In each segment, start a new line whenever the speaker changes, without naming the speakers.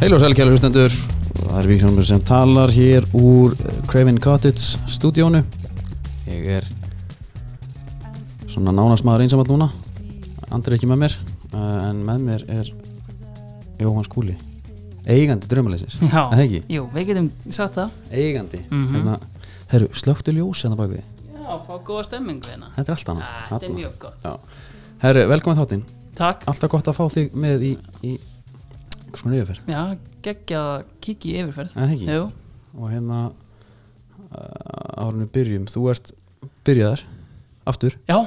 Heil og sæl kælu hlustendur
Það er Víkjörnur sem talar hér úr eh, Craven Cottage stúdíónu Ég er svona nánast maður einsamall núna Andri er ekki með mér eh, en með mér er Jóhann Skúli eigandi draumalysins,
Já,
Er það ekki?
Jú, við getum sagt það
eigandi
Mhm.
hérna, herru, slökktu ljós hérna bak við
Já, fá góða stemmingu hérna
þetta er allt annað
Þetta er
Þarna.
mjög gott
Já. herru, velkomin þáttinn,
Takk,
alltaf gott að fá þig með í, í einhvers konar yfirferð
já, geggjað að kikki í yfirferð
Er það ekki?
Jú,
og hérna uh, árunni byrjum, þú ert byrjaðar, aftur
já,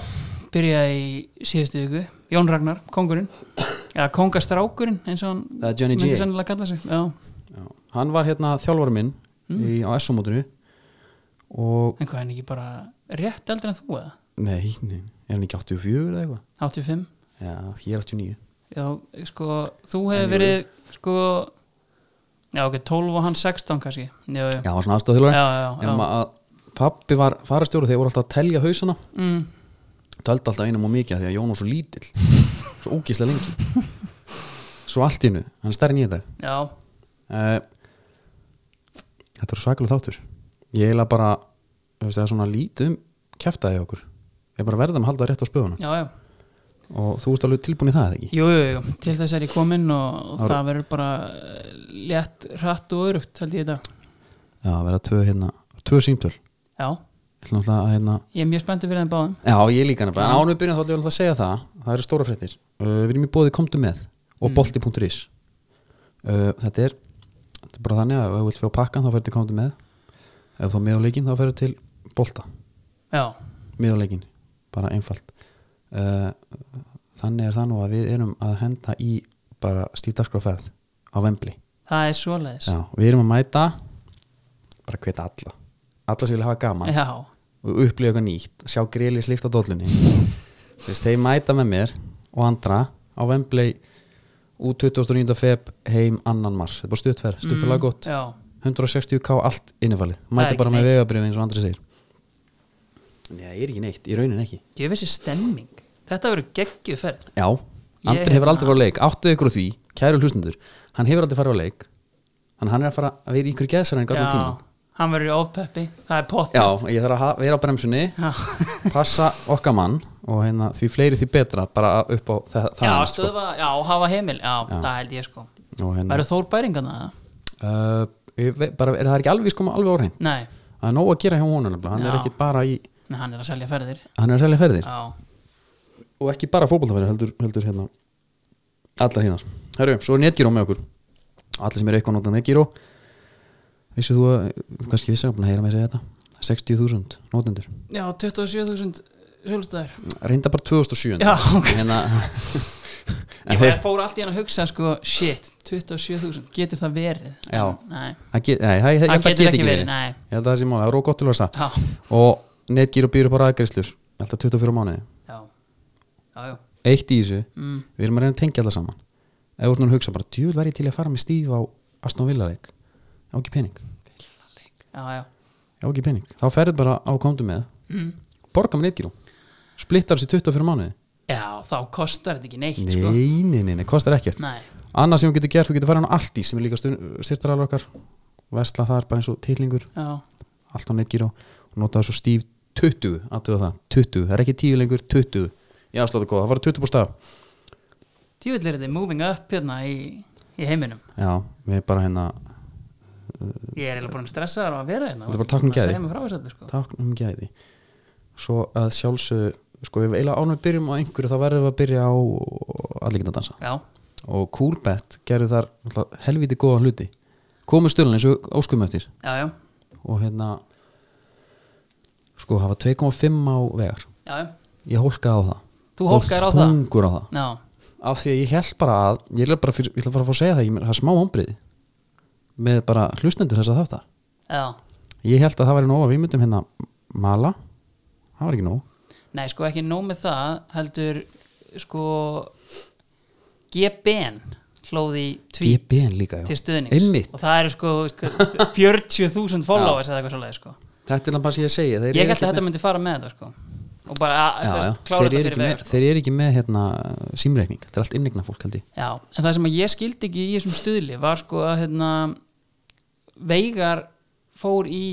byrjaði í síðustu viku Jón Ragnar, kongurinn Já, kongastrákurinn, eins og hann
Það er Johnny G.
myndi sennilega kalla sig Já,
Já. Hann var hérna þjálfari minn
Mm.
í, á SO-mótinu og
en hvað er hann ekki bara rétt eldri en þú eða?
nei, nei, er hann ekki 84 eða eitthvað?
85
Já, ég er 89.
Já, sko, þú hefur verið, sko Já, ok, 12 og hann 16 kannski Jú, jú,
Já, hann var svona aðstofþjálfari.
já, já, já.
Nefnum að pappi var farastjóri þegar voru alltaf að telja hausana.
Mm,
Töldi alltaf einum og mikið af því að Jón var svo lítill. svo ógislega lengi. svo allt í nu, hann er stærri en ég í dag.
já,
Uh, þetta er svakalega þáttur. Ég eiginlega bara, þú veist, það er svona lítið um kæftæði okkur. Ég bara verðum að halda rétt á spöðunum.
já, já
Og þú ert alveg tilbúin í það, eða ekki?
Jú, jú, jú, til þess er ég kominn og
Ára-
það verður bara eh, létt, hratt og örugt held ég þetta
Já, það verða tvö hérna, tvö símtöl Ég
Já,
ætla náttúrulega að hérna
ég er mjög spenntur fyrir þeim báðum
Já, ég líka nefnilega, en ánum við byrjum þá ætla ég náttúrulega að segja það Það eru stóra fréttir uh, Við erum í bóði komdu með og mm. bolti.is uh, Þetta er Þetta er bara þannig að ef þú vilt fá pakkan þá ferðu til komdu með Ef þú fá miðuleikin þá ferðu til bolta,
Já,
miðuleikin bara einfalt uh, Þannig er það nú að við erum að henda í bara stíðdagskraferð á Vembli
það er svoleiðis
Já, við erum að mæta bara hvita alla alla sem vilja hafa gaman
já,
og upplifa eitthvað nýtt sjá grili slifta dollunni Þú veist, þeir mæta með mér og andra á Vembley út 29. feb heim annan mars þetta er bara stuttferð, stuttulega gott
Mm. já.
160k allt innifalið,
Það er
mæta
ekki
bara með
neitt.
vegabrif eins og andri segir Nei, það er ekki neitt, í raunin ekki
Ég vissi stemming Þetta verður geggjuð ferð
Já, Andri
Ég- hérna-
hefur aldrei farið á leik áttu ykkur á því, kæru hlustundur hann hefur aldrei farið á leik þannig að hann er að fara að vera í ykkur geðsæræðing allan tíma
hann verður í ofpeppi, það er pott
Já, ég þarf að ha- vera á bremsunni passa okkar mann og hérna, því fleiri því betra bara upp á það, það
já
annars, sko.
stöðva, já, hafa heimil já, það held ég sko
og hérna
Verður Þór Bæringana það?
uh, ég veit bara, er það ekki alveg sko alveg orðin
Nei,
það er nóg að gera hjá honum nefnilega. hann er
Já.
ekki bara í
Nei, hann er að selja ferðir
hann er að selja ferðir
Já,
og ekki bara fótbollafæri heldur, heldur hérna allar hérna herru svo er netgíró með okkur allir sem eru eitthvað notað netgíró vissu þú að þú kannski vissi að búin að heyra mig segja þetta 60.000 notendur
já 27.000 sjálfstæðar
reynda bara 2007
Já, ok.
hérna, En
Ég
þeir-
þeir... fór allt í hann að hugsa sko, shit, 27.000, getur það verið?
Já.
Nei,
það get, nei, það, það get ekki verið
nei.
ég held að það sé mála, það er rók gott til að vera
Já,
það og netgíru býður bara aðgreislur alltaf 24 mánuði,
já, já, já.
eitt í þessu
Mm.
við erum að reyna að tengja alltaf saman eða voru núna að hugsa bara, djúvel væri ég til í að fara með stíf á Aston Villa leik, á ekki pening
já, já,
á ekki pening, þá ferðu bara á komdu með
mm.
borga með netgíru, splittar þessi 24 mánuði
já, þá kostar þetta ekki neitt
nei,
sko.
nei, nei, nei, kostar ekkert
Nei,
annað sem þú getur gert, þú getur farið á allt í sem er líka styrtarar okkar vesla þar bara eins og titlingur,
já,
allt á netgíru og nota þessu stíf 20, aðtöða það 20, það er ekki 10 lengur, 20 já, slóta góð, það var 20 búst
djúvill er þetta moving up hérna í, í heiminum
Já, við bara hérna
Ég er eiginlega búin að stressa þar að vera hérna
Þetta er bara tákn um
Búin að
gæði.
segja mér frá þessu öllu, sko.
takk um gæði Svo að sjálfsögðu sko við eiginlega ánum byrjum á einhverju þá verðum við að byrja á allir geta að dansa
Já,
og Coolbet gerði þar náttúrulega helviti góða hluti komu stölan eins og óskum eftir
já, já,
og hérna sko hafa 2,5 á vegar
já, já.
ég hólkaði á það
Þú hólkaðir á
Og
það?
þungur á það
já.
af því að ég held bara að ég ætla bara, fyrir, ég ætla bara að fá að segja það ég, það er smá ombriði með bara hlustendur þess að þáttar
já.
Ég held að það væri nóg að við myndum hérna mala, það var ekki nóg
Nei, sko ekki nóg með það heldur sko GBN hlóði tweet
GBN líka, já
til stuðnings
Einmitt.
og það eru sko, sko 40.000 followers eða eitthvað svolítið sko.
Þetta er bara sem ég segi
ég held að þetta myndi fara með þetta sko. og bara að,
já,
þú
já.
veist, klára
Þeir, eru ekki
þetta fyrir veður
með,
sko.
þeir eru ekki með hérna, símreikning Þetta er allt innegna fólk held ég
Já, en það sem að ég skildi ekki í þessum stuðli var sko að hérna, Veigar fór í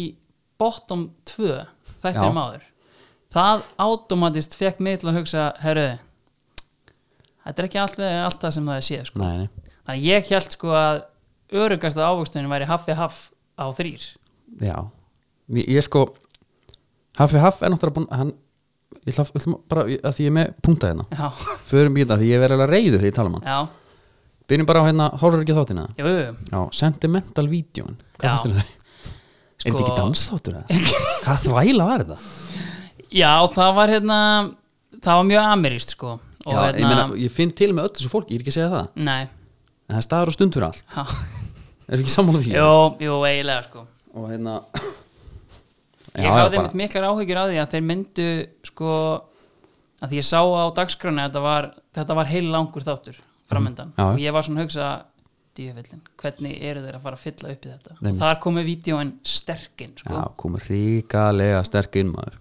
bottom 2 þetta
Já.
er maður það automatist fekk mig til að hugsa herru þetta er ekki allt, allt það sem það er séð sko.
Nei, nei,
þannig að ég held sko að örugasta ávuxtunin væri haffi haff á þrýr
já Ég, ég sko Hafi Haff er náttúrulega búin hann, Ég ætla ætlum bara að því ég er með punktað hérna
já,
Förum býta því ég verið alveg reyður því ég tala um hann
já,
Byrjum bara á hérna, horfður ekki á þáttina
jú, jú.
Já, sentimental videón
Já.
Hvað fannst þér það? Er
Sko-
þetta ekki dansþáttur eða? Hvað þvæla var þetta?
já, það var hérna það var mjög ameríst sko og
Já, ég, meina, ég finn til með öll þessu fólki, ég er ekki að segja það
nei,
En það er staðar og stund fyrir allt,
já,
er ekki sammála því?
jú, jú, eiginlega sko
Og hérna
ég
Já,
hafði
bara-
einmitt miklar áhyggjur að því að þeir myndu sko að því ég sá á dagskráni að þetta var, þetta var heil langur þáttur framöndan
Mhm, já.
og ég var svona að hugsa djöfellin, hvernig eru þeir að fara að fylla upp í þetta
Nei,
og þar komu vídjóin sterkinn sko.
Já, kom ríkalega sterk inn maður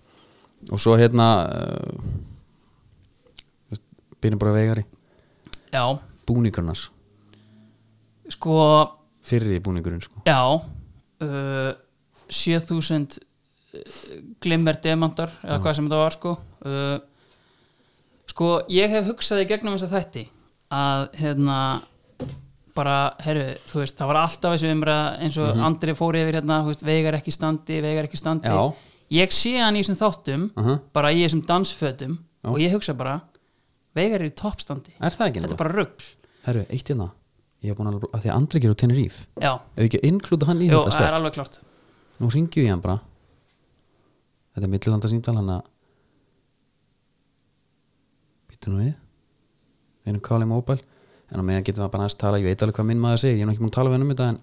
Og svo hérna uh, þú veist, Byrjum bara á veigari
já,
Búningurnars,
sko
fyrri búningurinn sko.
já uh, 7000 uh, glimmer demantar eða hvað sem þetta var sko uh, sko, ég hef hugsað í gegnum þess að þætti að hérna bara, herru, þú veist, það var alltaf þessu umra eins og
Mhm.
Andri fór yfir hérna, þú veist, veigar ekki í standi, veigar ekki í standi
Já.
ég sé hann í þessum þáttum
Aha.
bara í þessum dansfötum
Já.
og ég hugsa bara, veigar er í toppstandi
Er það ekki
þetta er
nú?
bara rugl
Herru, eitt hérna Ég hef búin að, að því að Andri gerur Teneríf
já,
Ef ekki inklúta hann í
Jó,
þetta
það er
spil
alveg klart
Nú ringju ég hann bara Þetta er millilanda símtal hann að Býttu nú við Við erum kálið móbæl En á meðan getum við bara aðeins tala Ég veit alveg hvað minn maður segir Ég er nú ekki múin að tala við hann um þetta En,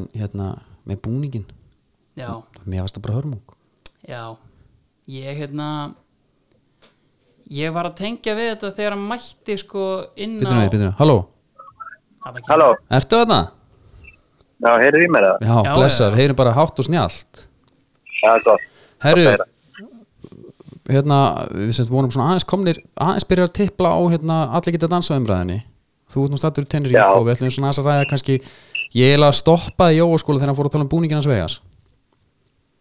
en hérna, með búningin
já,
Mér varst það bara hörmung
Já, ég hérna ég var að tengja við þetta þegar hann mætti sko inn
Býtum við,
á
býtum við, halló,
Það ekki.
Halló,
ertu þarna?
já, heyrðu í mér það?
Já,
Já,
blessað,
já.
við heyrum bara hátt og snjált
Já, gott.
Herru,
Gott að heyra.
hérna, við semst vorum svona aðeins komnir aðeins byrjar að tippla á hérna allir geta dansa umræðinni Þú ert nú stattur í Tenerife
Já.
og við ætlum svona aðeins að ræða kannski Ég eiginlega stoppaði Jóa skóla þegar hann fór að tala um búningin hans vegas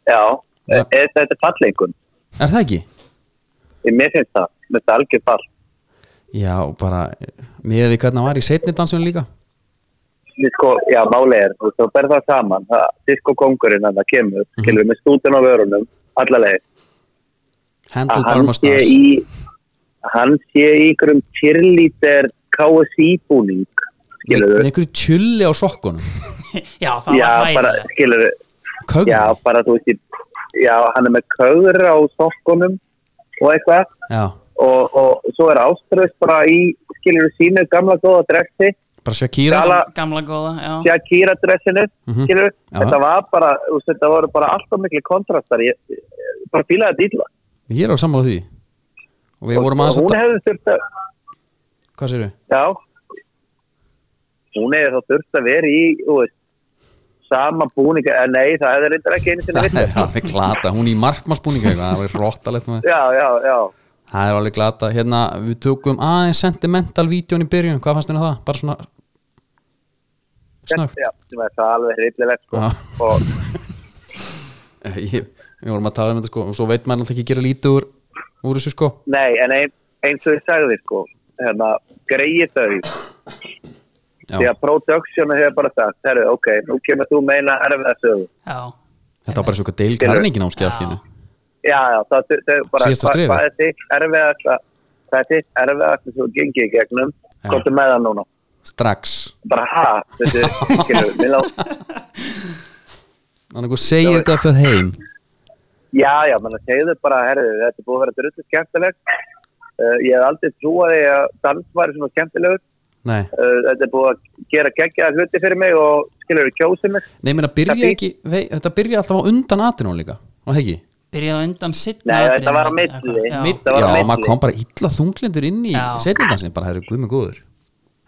Já,
Já.
Er, er, þetta er falleikun.
Er það ekki?
Ég- Mér finnst það, mér finnst það algjör fall.
Já, bara, miðað við hvernig hann var í setni dansunum líka
Disko, sko, já, máli er, þú veist, þú berð það saman. Það, disko kongurinn hann, það kemur, mm -hmm. með stúdin á vörunum, allalegi.
Handle
hann sé
Barmastas
í, hann sé í ykkurum cheerleader KSI búning,
Með
skilur þú?
einhverju tjulli á sokkunum
Já, það
Já,
var
bara,
hægilega
skilur
Kögn
já, bara, þú veist, ég- já, hann er með köður á sokkunum og eitthvað.
Já,
og, og svo er Áströðs bara í skilur sínu gamla góða dressi
bara Shakira
Sala-
Gamla góða, já
Shakira dressinu
Mhm.
skilur,
Já.
þetta var bara þú veist, þetta voru bara alltaf miklu kontrastar ég, ég bara fílaði þetta illa
Ég er á sammála því Og við vorum
og
aðeins að
hún hefði þurft að
Hvað segirðu?
já hún hefði þá þurft að vera í þú veist, sama búninga eh, nei það hefði reyndar ekki einu sinni
Það
vitið
er alveg glata, hún í markmannsbúninga eitthvað, það er alveg rottalegt maður.
já, já, já
Það er alveg glata, hérna við tökum aðeins sentimental vídjón í byrjun, hvað fannst þér um það? Bara svona snöggt
Já, sem er það alveg hreifilegt sko.
Já.
og
Ég- Við vorum að tala um þetta sko og svo veit maður alltaf ekki að gera lítið úr, úr þessu sko
nei, en ein, eins og ég sagði sko, hérna, greið þau
Já,
því að production hefur bara sagt herru, ok, nú kemur þú meina erfiða sögu
Já,
Þetta var bara svona deil karningin áskið allt í hennu
já, já, það þau- þau bara
Síðasta
hva-
skrefið.
hvað er þitt erfiðasta hvað er þitt erfiðasta sem þú gengið í gegnum
Já.
komdu með það núna
Strax
bara ha, þessi, skilur, mig lang-
Þannig að þú segir þetta fyrir heim
já, já, menn að segja þau bara herru, þetta er búið að vera drullu skemmtilegt uh, ég hef aldrei trúaði að dans væri svona skemmtilegur
Nei,
uh, þetta er búið að gera geggjaða hluti fyrir mig og skilur, kjósi mig
Nei menn að byrja ekki, vei, þetta byrja alltaf á undan atinón líka, og ekki?
byrjaði á undan sitt
Nei, þetta var á milli.
Já,
Milli.
Mitt,
Það var
já,
á milli.
maður kom bara illa þunglindur inn í
Já.
setnindansin, bara hefur guð með góður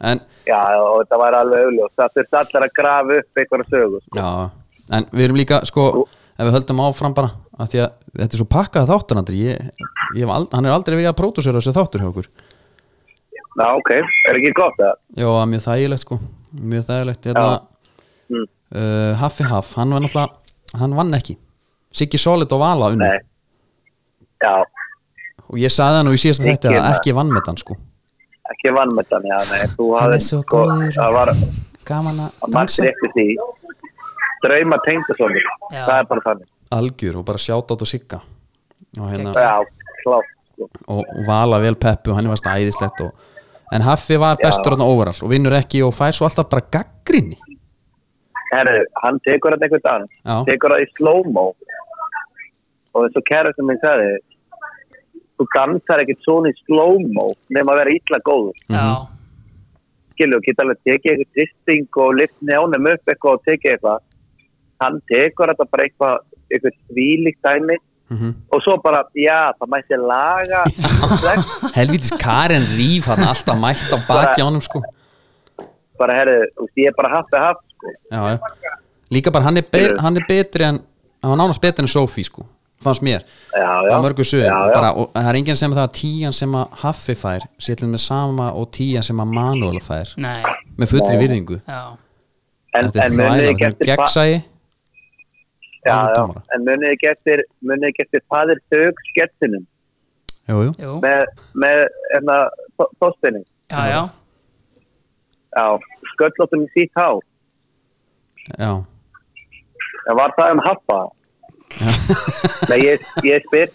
En
já, og þetta var alveg auðljóst það þurfti allar að grafa upp einhverja sögu sko.
Já, en við erum líka sko, ef við höldum áfram bara að því að þetta er svo pakkað þáttur Andri ég, ég hef ald, hann er aldrei verið að pródúsera þessi þáttur hjá okkur
Já, ok, er ekki gott að
já, það er mjög þægilegt sko mjög þægilegt hérna,
Mm.
uh, Haffi Haff, hann var náttúrulega hann vann ekki, Siggi Solid og Vala unni
Nei Já,
og ég sagði hann og ég síðast að
Siggi
þetta að
maður.
ekki vann með hann sko
ekki vannmetan, já, nei Þú
Hann
hafði
er svo
sko-
góður.
Það var
gaman að
að margir
dansa
eftir því Drauma tengdasonur
Já.
Það er bara þannig
algjör og bara sjátt át og Sigga og hérna
Já, klátt sko.
og, og vala vel peppu og hann varst æðislegt og, en Haffi var bestur hann overall og vinnur ekki og fær svo alltaf bara gaggrinni
Herru, hann tekur hann einhvern dans
Já.
tekur hann í slow-mo og þessu kæra sem ég sagði þú dansar ekkert svona í slow-mo nema að vera illa góður
já,
skilju og geta alveg tekið eitthvað tristing og lifni ánum upp eitthvað og tekið eitthvað hann tekur þetta bara eitthvað eitthvað svílíkt dæmi
mm
og svo bara, já, það mætti laga og sex,
helvitis Karen Ríf hann alltaf mætt á baki ánum sko
bara herru, þú veist, ég er bara haft að haft sko.
já, já. líka bara hann er, be
Fyrir.
hann er betri en hann var nánast betri en Sophie sko fannst mér,
já, já,
á mörgu sögum
já, já.
bara, og það er enginn sem það að tíjan sem að Haffi fær sétlinn með sama og tíjan sem að Manuel fær
nei
með fullri
Já.
virðingu
já,
en,
þetta er
en munið
þvæla,
ekki
þetta er
eftir fa-
gegnsæi
já,
alveg
já,
dómara.
en munið ekki eftir munið ekki eftir fadir þauk skettinum
jú, jú,
jú,
með, með hérna, þóstinni
já, já
já, sköllóttum í sítt hár
já
en var það um haffa nei, ég, ég spyr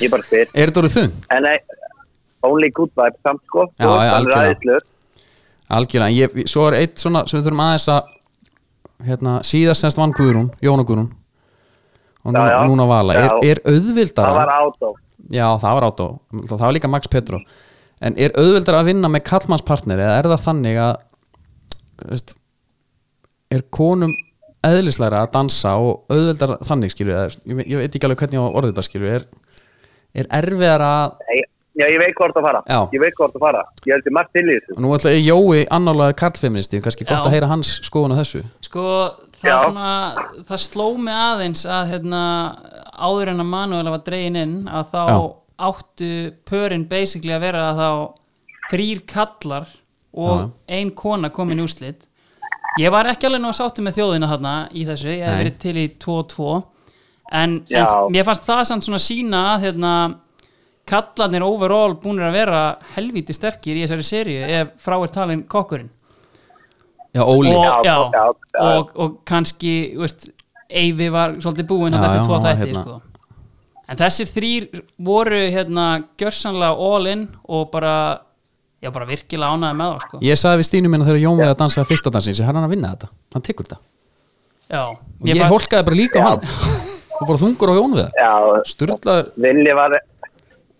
ég bara spyr
er þetta orðið þunn?
en nei, only good vibes samt sko
Já,
Þú
já,
veist, hann er
algjörlega.
æðislur.
Algjörlega, ég, ég- svo er eitt svona sem við þurfum aðeins að hérna, síðast semst vann Guðrún, Jóna Guðrún og núna,
Já, já.
núna Vala er,
Já.
er auðvildara
það var átó
Já, það var átó, það var líka Max Petro en er auðvildara að vinna með kallmannspartneri eða er það þannig að veist, er konum eðlislegra að dansa og auðvildara þannig skilju ég, ve- ég veit ekki alveg hvernig ég á að orðið þetta skilju er, er erfiðara að
Nei, já, ég veit hvort að fara
Já.
ég veit hvort að fara ég held ég margt til í þessu
Nú ætla ég Jói annálaður karlfeministi kannski gott
Já.
að heyra hans skoðun á þessu
sko það,
Já.
svona, það sló mig aðeins að hérna, áður en að Manuela var dregin inn að þá
Já.
áttu pörin basically að vera þá þrýr kallar og ein kona komin í úslit ég var ekki alveg nú að sáttu með þjóðina þarna í þessu, ég hef
Nei.
verið til í 2-2 en,
Já.
en mér fannst það samt svona sína að hérna, kallarnir overall búinir að vera helvíti sterkir í þessari seríu ef frá er talin kokkurinn
Já, Óli
og,
Já,
já,
já, já.
og, og kannski þú veist, Eyvi var svolítið búinn
Já,
þetta
já,
eftir tvo
hann var
þætti
hérna.
sko. en þessir þrýr voru hérna gjörsanlega all in og bara, já, bara virkilega ánæði með þá sko.
Ég sagði við Stínu minna þegar Jón veið að dansa fyrsta dansin sem hann er að vinna þetta, hann tekur þetta
já,
og ég,
fann-
hólkaði bara líka á hann og bara þungur á Jón veið
já,
Sturlaður,
Villi var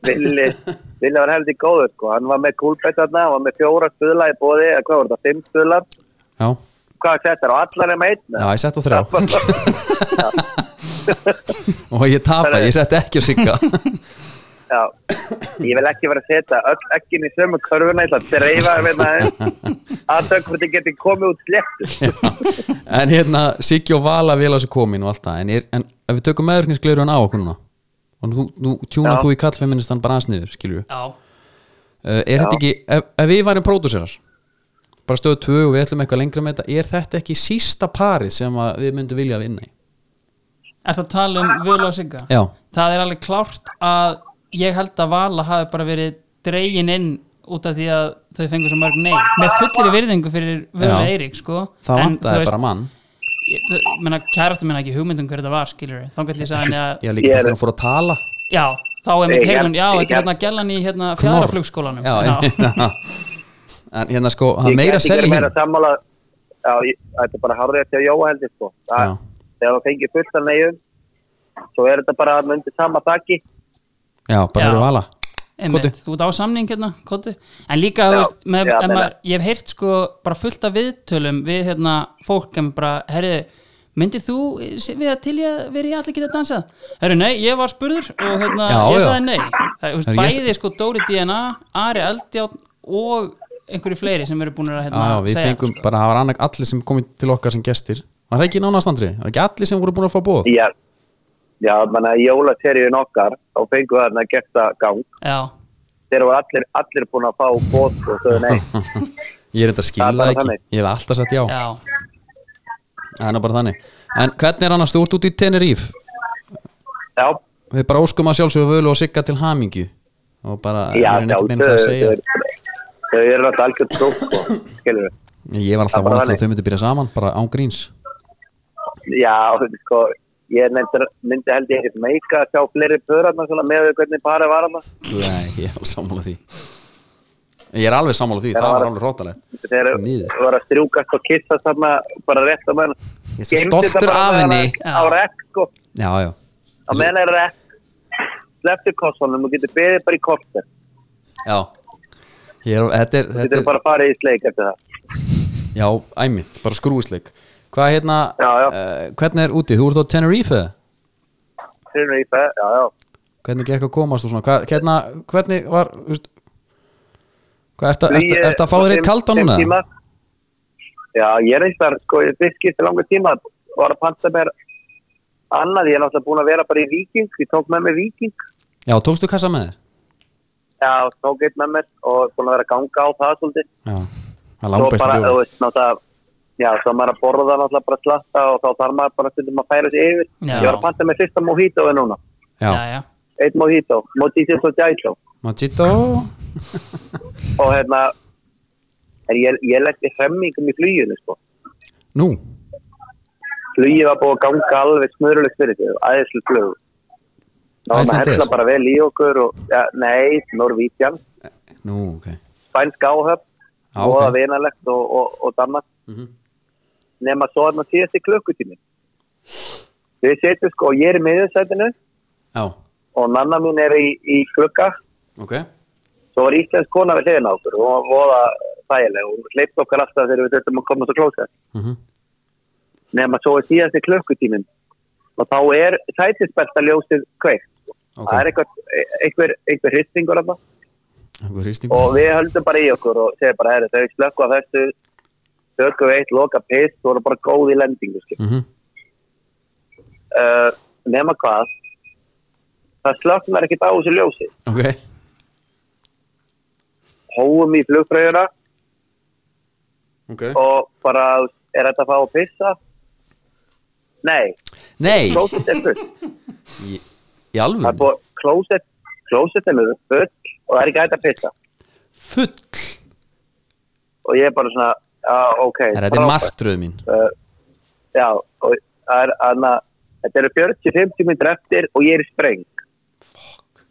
Villi, Villi var heldur góður sko. hann var með kúlbettarna, hann var með fjóra stuðla í bóði, eða hvað voru það, fimm stuðlar
já,
hvað settar, og allar er með einn
já, ég sett á þrjá
já,
og ég tapaði, ég sett ekki á sigga
já. ég vil ekki vera að setja öll ekkin í sömu körfuna, ég ætla að dreifa hérna aðeins. að þau hvort þið geti komið út slétt
en hérna, Siggi og Vala vil á sig komin og allt það, en, er, en ef við tökum meðurkningsgleirun á okkur núna og nú, nú tjúna
Já.
þú í kallfeministan bara aðsniður, skilju uh,
já,
Eh, er þetta ekki, ef, ef við værum pródúserar bara stöðu tvö og við ætlum eitthvað lengra með þetta er þetta ekki sísta parið sem að við myndum vilja að vinna í?
Er það að tala um Völu og Sigga?
Já.
Það er alveg klárt að ég held að Vala hafi bara verið dregin inn út af því að þau fengur svo mörg nei með fullri virðingu fyrir Völu
Já.
og Eirík sko.
það
En, þú
vantaði
veist,
bara mann
ég- þú- menna, kærasta minna ekki hugmyndum hver þetta var skilur þá gætti ég sagði henni að
Já, líka
Ég
bara
er-
þegar hún fór að tala
já, þá er mitt
Ég-
heilun já,
ég-
þetta er hérna gellan í hérna,
Knorr.
fjaraflugskólanum
Já, já. En hérna sko, það er meira að
Ég get
selja hinn
ekki verið meira sammála já, ég, þetta er bara hárið til að jóa heldur sko.
Já.
Það- þegar það fengið fullt að neyjum svo er þetta bara að myndi sama þakki
Já, bara
Já.
eru vala Koti.
Einmitt, þú ert á samning hérna, kóttu en líka, þú
Já,
veist, með,
já,
ef
meina.
maður, ég hef heyrt sko bara fullt af viðtölum við hérna fólk sem bara, herri, myndir þú se- vera til í að vera í allir geta dansað herri, nei, ég var spurður og hérna,
Já,
ég
já.
sagði nei það, þú veist,
Herri, ég-
bæði sko Dóri DNA, Ari Eldjátt og einhverju fleiri sem eru búin að
Já,
hérna,
já, við
segja
fengum
sko.
bara, það var annak allir sem komið til okkar sem gestir Var það ekki nánast andri? Var ekki allir sem voru búin að fá bóð?
Já, já manna jólaseríun okkar þá fengum við þarna gesta gang
já,
þeir voru allir, allir búin að fá bóð og þau nei,
Ég er enda að skila
Það er
það
bara
ekki
þannig.
Ég hef alltaf sagt já,
já
það er nú bara þannig En hvernig er annars, þú ert út í Teneríf
já,
Við bara óskum að sjálfsögðu völu og sigga til hamingju Og bara, ég
já,
er
já
neitt meina það að segja
þau, þau, þau eru alltaf algjörð trú sko, skilur við
Ég var alltaf
Það er bara
vonast að
þannig.
þau myndi byrja saman, bara án gríns
Já, sko, ég nefndir, myndi held ég ekkert meika að sjá fleiri pörarna svona með við hvernig parið var hana.
Nei, ég er alveg sammála því Ég er alveg sammála því,
Þegar
það
var-
var alveg rótalegt
Þeir
Nýður.
voru að strjúkast og kissa þarna bara rétt á meðan.
Ég er svo stoltur af henni.
Á rekk, sko.
Já, já,
Á meðan er rekk. Sleftu kostunum og getur beðið bara í kortir.
já Ég er, þetta er,
Getur
þetta er,
bara að fara í sleik eftir það.
já, æmitt, bara skrúisleik Hvað hérna,
Já, já.
eh, hvernig er úti? Þú ert á Tenerife?
Þeir í það, já, já.
Hvernig gekk að komast og svona? Hvað, hérna, hvernig var, þú veist Hvað, ertu
Flugi-
ert, ert að fá þér eitt
fimm-
kaldan
fimm
núna?
tíma. Já, ég er einstaklega, sko, ég fiskist í langa tíma var að panta mér annað, ég er náttúrulega búin að vera bara í viking, ég tók með mig viking
Já, tókstu kassa með þér?
Já, tók eitt með mér og búin að vera að ganga á það svolítið.
Já, það er
Svo
langbæst
bara,
að
þú
bjóða
veist, náttúrulega, já, svo maður er að borða náttúrulega bara slatta og þá þarf maður bara stundum að færa sig yfir.
Já.
Ég var að panta með fyrsta mojitoði núna.
Já,
já, já,
Eitt mojito, mojito og jætó.
Mojito
Og hérna, er ég, ég lendi hremmingum í fluginu, sko.
Nú,
Flugið var búið að ganga alveg smörulegt fyrir sig, æðislu flug. Ná, maður
Icelandair?
hefla bara vel í okkur og, ja, nei, Norvíkjan,
Mhm. nú, ok
spænsk áhöfn,
Já,
og
ok.
það vinalegt og, og, og dammast.
Mhm.
nema svo er maður síðast í klukkutími við setjum sko, ég er í miðursætinu
Já,
og nanna mín er í, í klukka
ok
svo var íslensk kona við hliðin á okkur og hún var voða þægileg og hleypt okkar alltaf þegar við þurftum að komast á klósa
Mhm.
nema svo er síðast í klukkutímin og þá er sætisbelta ljósið kveikt
Ok.
það er eitthvað, einhver, einhver hristingur af það
Einhver hristingur.
og við höldum bara í okkur og segir bara, "Herru, þegar við slökkum á þessu tökum við eitt loka piss og vorum bara góð í lendingu skil.
Mhm.
uh, nema hvað það slöknar ekkert á þessu ljósi
Ok,
hóum í flugfröðuna
ok
og bara er þetta að fá að pissa nei,
Nei,
klósett er full
í, í alvöru
það er búið klósett klósett er full og það er ekki hægt að pissa
Full
og ég er bara svona, já ok
Herra, Þetta er martröð mín
uh, já, og það er anna, þetta eru 40-50 minnir eftir og ég er í spreng
Fuck.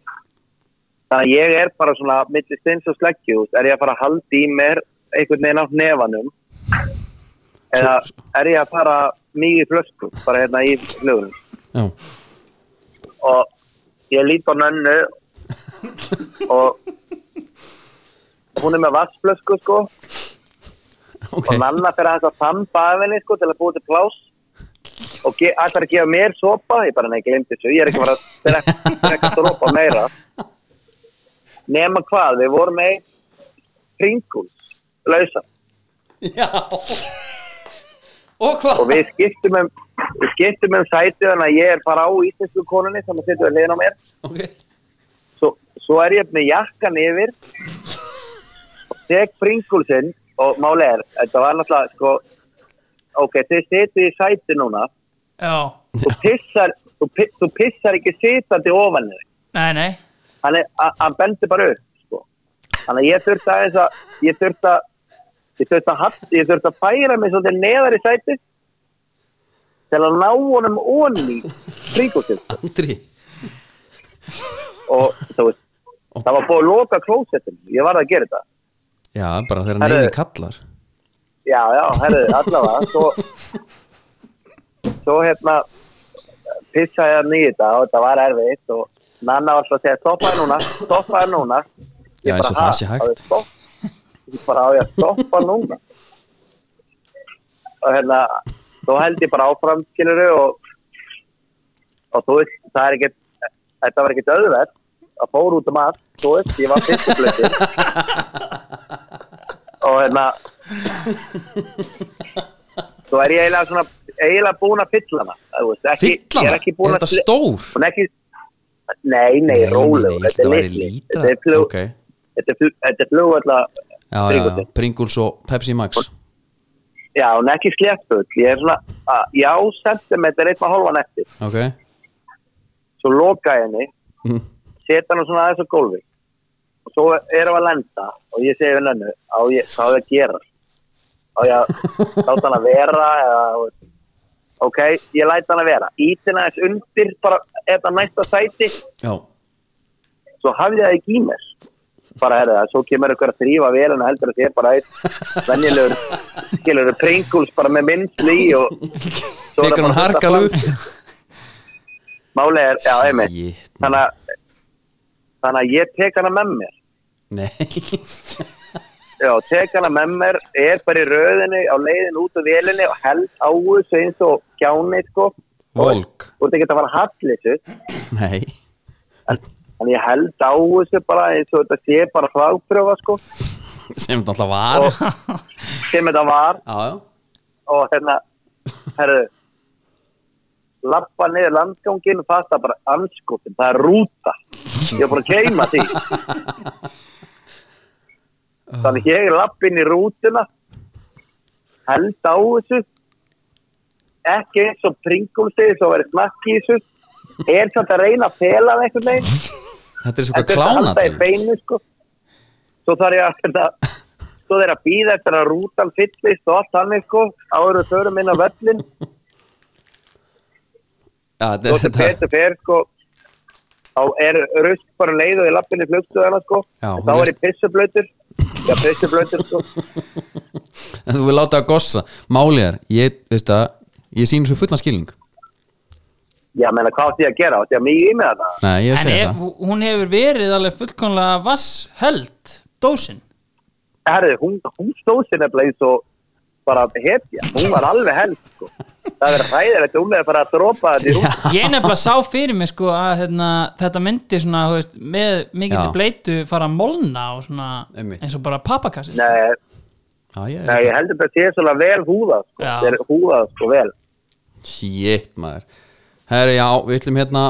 þannig að ég er bara svona mitt steins og sleggju, þú veist, er ég að fara að halda í mér einhvern veginn á nefanum eða er ég að fara mikið í flösku, bara hérna í flugunum
Já,
og ég lít á nönnu og hún er með vassflösku sko
ok
og nanna fyrir að þess að þamba af henni sko til að búið til plás og ge- ætlar að gefa mér sopa ég bara, nei, glemt þessu, ég er ekki bara að drekka- drekka sopa meira nema hvað, við vorum með Pringles lausa
já og hvað
og við skiptum um við skiptum um sætið þannig að ég er bara á íslensku konunni sem að setja við hliðin á mér
Ok,
svo, svo er ég með jakkan yfir og tek Pringlesin og máli er, þetta var náttúrulega sko, ok, þið setið í sæti núna
já,
þú pissar, þú, pi- þú pissar ekki sitandi ofan þig.
nei, nei
Hann, er- hann- hann bendir bara upp, sko. Þannig að ég þurfti aðeins að, ég þurfti að, ég þurfti að, hatt, ég þurfti að færa mig svolítið neðar í sæti til að ná honum onni í fríkótið.
Andri
Og þú veist, það var búið að loka klósettinu. Ég varð að gera þetta.
Já, bara þegar
Herra.
neyði kallar
Já, já, herru, allavega, svo, svo hérna, pissaði hann í þetta og þetta var erfitt og nanna var svo að segja, stoppaði núna, stoppaði núna.
Já, eins og það sé hægt.
Stopp, ég bara á ég að stoppa núna. Og hérna, þá held ég bara áfram, skiluru, og, og þú veist, það er ekkert, þetta var ekkert auðvelt að fóra út um allt, þú veist, ég var fyrstublökkur. og hérna, Svo er ég eiginlega svona eiginlega búin að fylla hana þú veist, ekki,
Fylla
ég
hana?
er ekki búin
Er þetta
að-
stór?
Hún er ekki, nei, nei, rólegur
Þetta
þetta er
væri
litli
lítið
þetta er flug-
Ok. Já,
þetta er flug- þetta er flugvalla
já, já,
Pringles.
Pringles og Pepsi Max
já, hún er ekki sléttfull ég er svona, að, já, sentimeter eitthvað hálfan eftir
Ok
svo loka ég henni
Mhm.
setja hann svona aðeins á gólfi og svo erum við að lenda og ég segi við nennu, á ég, hvað á ég að gera á ég að láta hann að vera eða, þú veist. ok, ég læta hann að vera ítina þess undir bara eða næsta sæti
Já,
svo hafði ég það ekki í mér bara er það, svo kemur ykkur að þrýfa velina heldur að ég bara eitt venjulegur, skilur pringuls bara með minnsli í og svo er það
tekur hann
bara að
harkalu
fara- Málið er, já, einmitt
Shit.
þannig að þannig að ég tek hana með mér
Nei
já, tek hana með mér er bara í röðinni á leiðin út á vélinni og held á þessu eins og kjáni sko
Volk
og þetta geta að fara hallissu
Nei
en ég held á þessu bara eins og þetta sé bara frápröfa sko
Sem þetta alltaf var
Og- sem þetta var
Já, já
og hérna herru lappa niður landgangin og fasta bara anskotin, það er rúta ég er búin að keima því þannig ég lappa inn í rútuna held á þessu ekki eins og pringulstegið svo verið snakki í þessu er samt að reyna að fela það einhvern veginn
Þetta er svo
En
hvað
þetta
klána
halda í beinu sko svo þarf ég að þetta, svo þeir að býða eftir að rútan fyllist og allt þannig sko áður og þörum inn á völlin
Já,
svo
þetta
sem
þetta-
betur fer sko þá er rust bara um leið og ég lapp inn í flugstuðana sko
Já,
þá
hún
er ég pissublautur já pissublautur sko
En þú vil láta að gossa Málið er, ég, veist það Ég sýnir svo fullan skilning
já menna hvað átti ég að gera átti ég að mjög í með þetta
Nei, ég
en
segi
ef,
það
hún hefur verið alveg fullkomlega vass held dósin
Herri, hún, hún stóð sér nefnilega eins og bara hetja, hún var alveg held sko. það er ræðilegt hún er bara að dropa þetta í rútan
ég nefnilega sá fyrir mig sko að hérna, þetta myndi svona þú veist, með
Já.
mikilli bleitu fara að molna og svona
Einmitt.
eins og bara papakassi
nei,
Já, ég
Nei, ég heldur þetta að sé svona vel húðað sko.
Já.
Þeir húðað sko vel
Shit maður Herri já, við ætlum hérna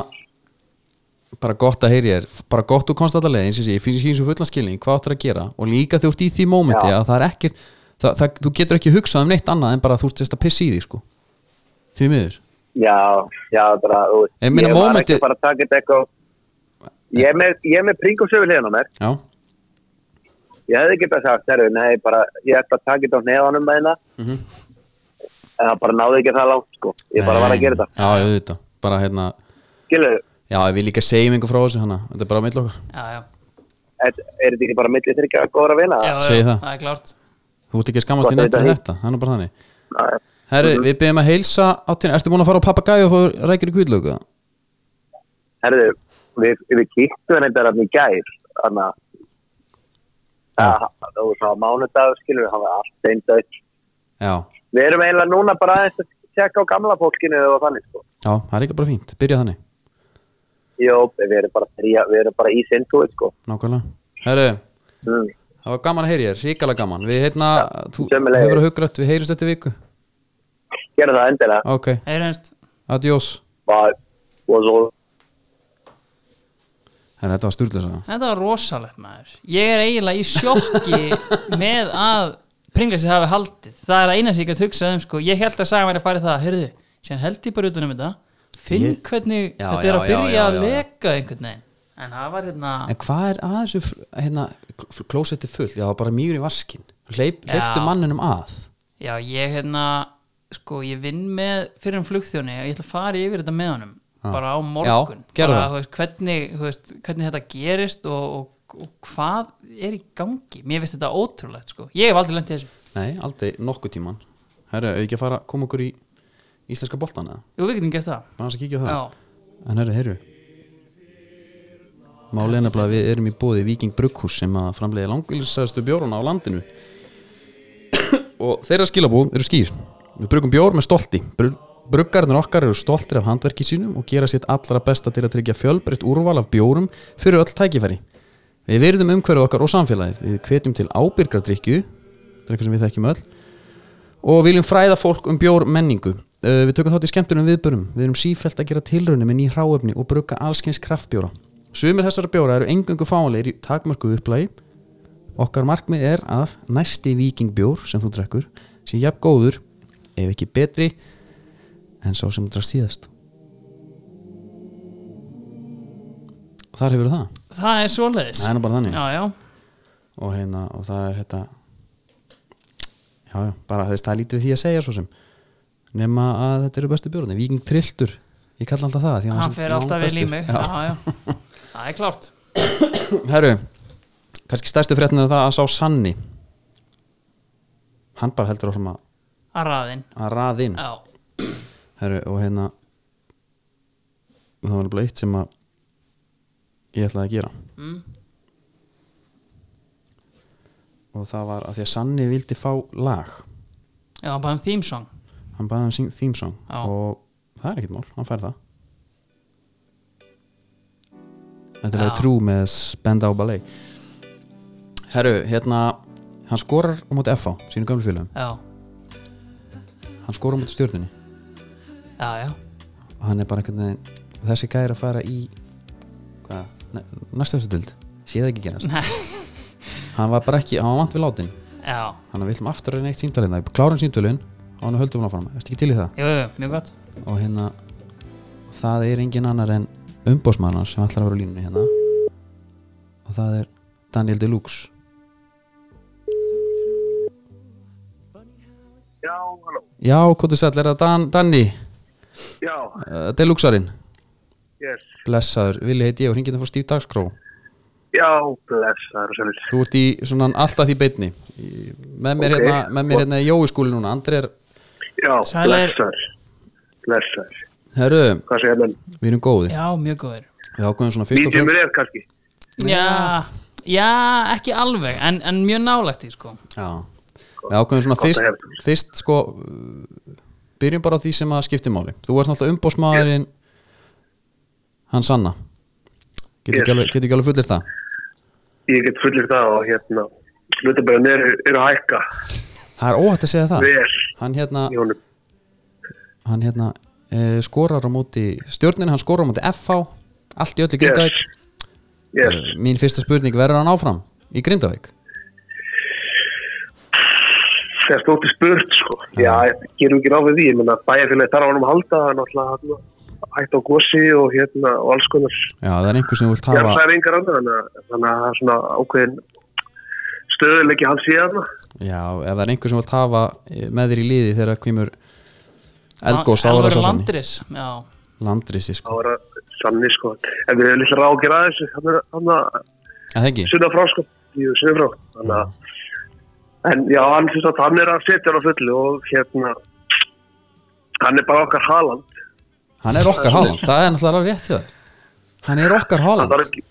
bara gott að heyri þér bara gott þú komst alltaf leið, eins og sé, ég finnst ekki eins og fullan skilning hvað áttur að gera og líka þú ert í því mómenti
Já.
að það er ekkert það, það, þú getur ekki hugsað um neitt annað en bara að þú ert sérst að pissa í því sko því miður
Já, já, bara þú veist,
Ég meina,
var
mómentið-
ekki bara að taka þetta eitthvað Ég er með, ég er með pringusöfur hliðan á mér
já,
Ég hefði getað sagt, herru, nei, bara Ég ætla að taka þetta á neðanum með hérna
Mhm.
En það bara náði ekki það langt sko Ég bara var að gera þetta
já, auðvitað bara hérna
Skilur,
já, við líka segjum einhver frá þessu hana þetta er bara á milli okkar
já, já,
er, er þetta ekki bara milli þeir ekki að góðra vina?
já, já,
Segðu það.
er klárt
þú ert ekki að skammast þín
Gott að
eftir
vita Mhm.
þetta það er nú bara þannig
Já, já.
herri, við byrjum að heilsa áttina ertu múin að fara á papagæju og fá rækir í kvíðlöku
Herru, við, við kýttum henni þetta hann í gær Þannig að Það það var svona mánudag, skilur, hann var allt einn dött
já,
Við erum eiginlega núna bara aðeins að tjekka á gamla fólkinu og þannig sko.
já, það er líka bara fínt byrja þannig
Jó, við erum bara, þrýja, við erum bara í sindúið sko.
Nákvæmlega Herru,
Mm.
það var gaman að heyri þér, ríkala gaman Við hérna, þú
sömuleiðis.
hefur að hugrætt Við heyrjumst eftir viku
Gerðu það endilega.
Ok,
Heyr einst
adjós
Bye. Was all.
Herra, þetta var stúrlega saga
Þetta var rosalegt maður Ég er eiginlega í sjokki með að Pringlesi hafi haldið Það er að eina sem ég gætt hugsað um sko Ég held að saga mér að fara í það Hörðu, sér held ég bara utan um þetta Finn
Ég-
hvernig
Já,
þetta er
já,
að
já,
byrja
já, já,
að
já.
leka einhvern veginn En það var hérna
En hvað er að þessu, fl- hérna Klósetti full, já, það var bara mýri vaskin Hleyp,
Já.
Hleyptu manninum að
Já, ég hérna Sko, ég vinn með fyrir um flugþjóni og Ég ætla að fara yfir þetta með honum
Já.
Bara á morgun
Já, gerðu
bara,
það.
þú veist, hvernig, þú veist, hvernig þetta gerist og, og, og hvað er í gangi Mér finnst þetta ótrúlegt sko Ég hef aldrei lent í þessu
Nei, aldrei nokkuð tíman Herra, auðvitað að fara, koma okkur í Íslenska boltana,
Jú, við getum gert það
maður hans að kíkja á það
Já,
En herru, herru Málið er nefnilega að við erum í bóði Viking Brugghús sem að framleiði langvílisastu bjórana á landinu og þeirra skilabóð eru skýr Við brugum bjór með stolti Bru- Bruggarnir okkar eru stoltir af handverki sínum og gera sitt allra besta til að tryggja fjölbreytt úrval af bjórum fyrir öll tækifæri Við verðum umhverju okkar og samfélagið Við hvetjum til ábyrgardrykju Það er eitthvað sem við þekkjum öll og viljum fræða fólk um bjór menningu Uh, við tökum þátt í skemmtunum viðbörum Við erum sífælt að gera tilraunum með ný hráefni og brugga allskyns kraftbjóra Sumir þessara bjóra eru engungu fáanlegir í takmörku upplægi Okkar markmið er að næsti vikingbjór sem þú drekkur sé jafn góður ef ekki betri en sá sem þú drekst síðast Þar hefur það
það er svoleiðis
Það er nú bara þannig
já, já,
og, hérna, og það er þetta já, já, bara þú veist, það er lítið við því að segja svo sem nema að þetta eru bestu bjórni Viking Trilltur, ég kalla alltaf það því að
hann
sem
fer alltaf vel í
langbestur.
mig já,
já.
já, það er klárt
Herru, kannski stærstu fréttin er það að sá Sanni hann bara heldur áfram að,
að raðin
að raðin
já,
Herru, og hérna það var alveg eitt sem að ég ætlaði að gera
mm.
og það var að því að Sanni vildi fá lag
já, bara um theme song
hann baði hann theme song
Já.
og það er ekkert mál, hann fær það Þetta er
Já.
að trú með Spendau Ballet Herru, hérna hann skorar á móti FH, sínu gamlu félagum
já,
hann skorar á móti stjórninni
já, já,
og hann er bara einhvern veginn þessi gæri að fara í hvað, næstu þessu dild sé það ekki gerast
Nei.
hann var bara ekki, hann var vant við látin
já
hann við ætlum aftur að reyna eitt símtalina klárum símtalin og hann höldum hann áfram, ertu ekki til í það?
jú, jú, mjög gott
og hérna það er engin annar en umbósmannar sem ætlar að vera á línunni hérna og það er Daniel Deluxe
Já, halló.
Já, hvað þú sætlar, er það Dan, Danni
Já,
uh, Deluxarinn,
yes.
blessaður Vili heiti ég og hringið það fór Stíf Dagskró
Já, blessaður og sjálf.
Þú ert í svona alltaf því beitni Í- með mér,
Ok.
hérna, með mér hérna í Jói skúli núna Andri er,
Já,
Sælir.
blessaður. Blessaður.
herru,
Hvað segja menn?
við erum góði
já, mjög góður
Við ákveðum svona fyrst og fremst
Mediumur er kannski.
já, já, ekki alveg en, en mjög nálægt í sko
Já, við ákveðum svona
Gott að
fyrst,
heyra.
fyrst sko uh, byrjum bara á því sem að skipti máli þú ert náttúrulega umbósmaðurinn hann sanna getur ekki
Yes.
alveg, getur ekki alveg fullir það
Ég get fullir það og hérna, hlutabæðan eru er að hækka
það er óhætt að segja það
vel
hann hérna,
í honum.
hann hérna e, skorar á móti stjórninu, hann skorar á móti FH allt í öllu Grindavík
Yes.
Eh,
Yes.
mín fyrsta spurning, verður hann áfram í Grindavík?
Það er stótti spurt, sko. Já, ég gerum ekki ráð við því. Ég menna, bæjarfélagi þarf á honum að halda, hann náttúrulega hann hætti á gósi og hérna og alls konar.
Já, það er einhver sem þú vilt
Ég
hafa
það er engar annar, þannig að- þannig að það er svona ákveðin stöðuleiki hans í þarna.
Já, ef það er einhver sem vilt hafa eh, með þér í liði þegar kvímur eldgóð sára
Alvöru
svo sannig
landris, já,
Landrisi
Þá
sko,
er það sannig, sko. En við höfum litla ráð að gera þessu, þannig að
að það ekki?
sunna frá, sko. Jú, sunna frá. Þannig að, en já, hann finnst að hann er að setja hann á fullu og hérna, hann er bara okkar haland.
Hann er okkar Haaland, það er náttúrulega alveg rétt hjá þér Hann er okkar
Það
Haaland
þarf ekki,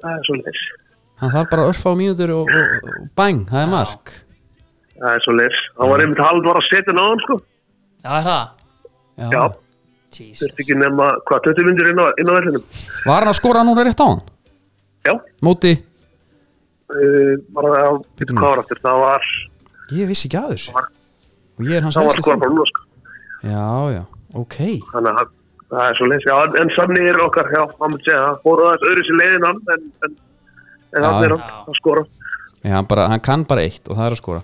það er svolítið.
Hann þarf bara örfa á mínútur og, og, og bang, það er mark
Það er svo leir. Hann var einmitt hald var að setja náðan sko.
já, er það
Já.
Já,
Jesus.
þurfti ekki nema hvað 20 myndir inn á, inn á vellinum.
Var hann að skora núna rétt á hann?
Já,
Móti,
uh, bara að
Bíddu nú.
hvað var aftur. Það var,
ég vissi ekki aður
Var-
Og ég er hans
það var
helsti
skora
þjálfari.
bara núna sko.
Já, já, ok
Þannig að hann- það er svo leir. Já, en, en sannig er okkar, já, hann myndi segja, hann fór aðeins öðru sér leiðin hann, en, en, en
Já,
hann er
já.
hann að skora.
Já, hann, bara, hann kann bara eitt og það er að skora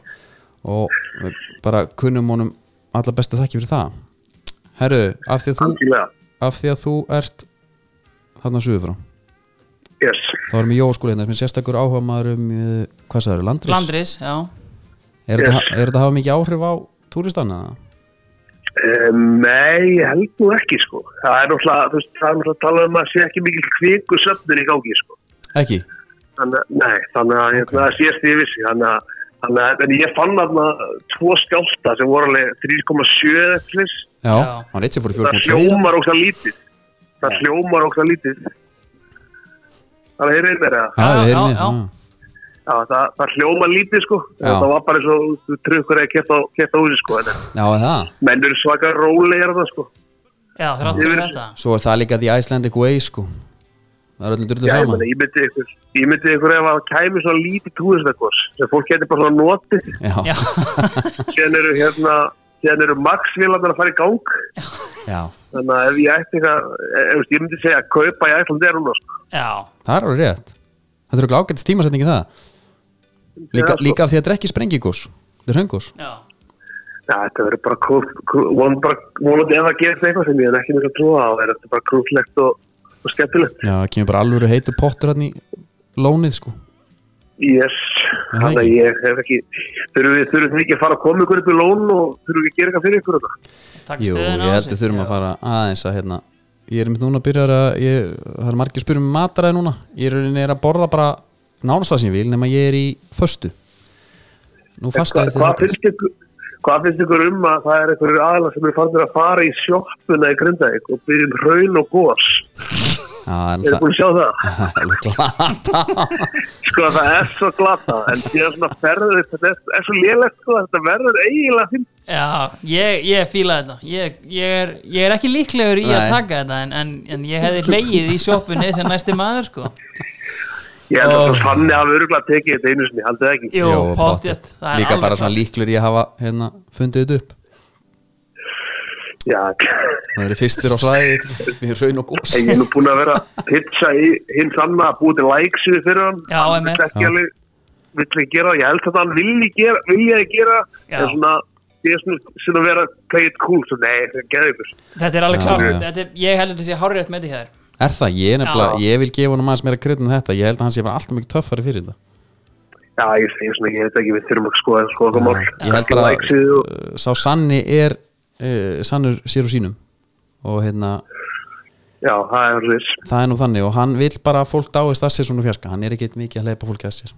Og við bara kunnum honum alla besta þakki fyrir það Herru, af því að þú,
Þannig að,
af því að þú ert þarna suður frá
yes,
þá erum við jóskóli hérna sem er sérstakur áhuga maður um eh, hvað sagður, landris?
landris, já
Er
Yes.
þetta er þetta að hafa mikið áhrif á túristanna?
um, nei, ég held nú ekki sko. Það er náttúrulega, þú veist, það er náttúrulega að tala um að sé ekki mikil kviku söfnun í gangi sko.
Ekki?
þannig að- nei, þannig að hérna,
Ok.
það sést ég vissi þannig að, þannig að en ég fann þarna tvo skjálta sem voru alveg 3,7 eða eitthvað svoleiðis.
Já,
Já.
hann eitt sem fór í
það
4.2
hljómar ógst lítið það hljómar ógst lítið það er einnig að
Já,
Já,
við
já,
erum
já.
við
Já, það, það hljóma lítið sko
Já.
það var bara eins og þú trukkur eða kett á, kett á húsi sko en
Já, er það
menn eru svaka rólegar það sko
Já, þráttur
Yfir-
fyrir þetta
Svo er það líka The Icelandic Way sko Það er öllum drullu
Já, ég
saman
meina, ég myndi ykkur ég myndi ykkur ef að kæmi svona lítið túristakos sem fólk getur bara svona notið
Já,
Já,
Sen eru hérna síðan eru max-vélarnar að fara í gang
já,
þannig að ef ég ætti eitthvað e- ef, ég myndi segja að kaupa í ætlandi er hún sko.
Já,
það er alveg rétt Þetta eru ágætt stímasetningi það líka,
Já, sko.
líka af því að þetta er ekki sprengigús Þetta er höngus
já,
ja, þetta verður bara krúf- krúf- von bara vonandi ef það gerist eitthvað sem ég er ekki mikið að trúa á er þetta bara krúflegt og, og skemmtilegt
Já, það kemur bara alvöru heitu pottur hann í lónið sko
yes.
Já, það
þannig að
ekki.
ég hef ekki þurfum við þurfum við ekki að fara að koma ykkur upp í lón og þurfum við að gera eitthvað fyrir ykkur þetta
takk
Jú, ég
stöðuna á
held
sig.
við þurfum
Já.
að fara aðeins að hérna Ég er mitt núna að byrja að ég, Það er margir spyrum um mataræði núna Ég er, er að borða bara nánast það sem ég vil nema ég er í föstu Nú
Hva,
fastaði
hvað, finnst ykkur, hvað finnst ykkur um að það er einhverjur aðla sem er farin að fara í sjoppuna í Grindavík og byrja um hraun og gos
Já,
er
það
þið búin að sjá það?
er alveg glata
Sko það er svo glata en síðan svona ferður þetta er, er svo lélegt sko þetta verður eiginlega finn
Já, ég, ég fíla þetta ég, ég, er, ég er ekki líklegur í að
Nei.
taka þetta en, en, en ég hefði hleyið í sjoppunni sem næsti maður sko
ég held að þannig hafi öruglega tekið þetta einu sinni haldið það ekki
Jú, pottjett
Líka bara svona líklur ég hafa hérna, fundið þetta upp
Já,
Það eru fyrstir á slæði Við erum raun og gós
en ég er nú búin að vera að pitcha í hinn sann að búið til læksuði fyrir hann
Já,
hann
einmitt.
vill ekki alveg vill ekki gera, það. ég held að hann vilji gera, viljaði gera
Já.
en svona, ég er svona, svona vera play it cool, svo nei, það er geðið
Þetta er alveg
Já,
klart
já.
Þetta er, Ég held að þetta sé hárétt með því hér
Er það? Ég, er nefnilega,
Já.
ég vil gefa honum aðeins meira krydd en þetta Ég held að hann sé bara alltaf mikið töffari fyrir þetta
Já, ég segi svona, ég veit ekki, við þurfum að skoða skoða það mál.
Ég held bara
Like síðu og-
uh, Sá Sanni er uh, Sannur sér og sínum Og hérna,
Já, það er hans
það er nú þannig Og hann vil bara að fólk dáist að sér svona úr fjarska Hann er ekki mikið að leipa fólki að sér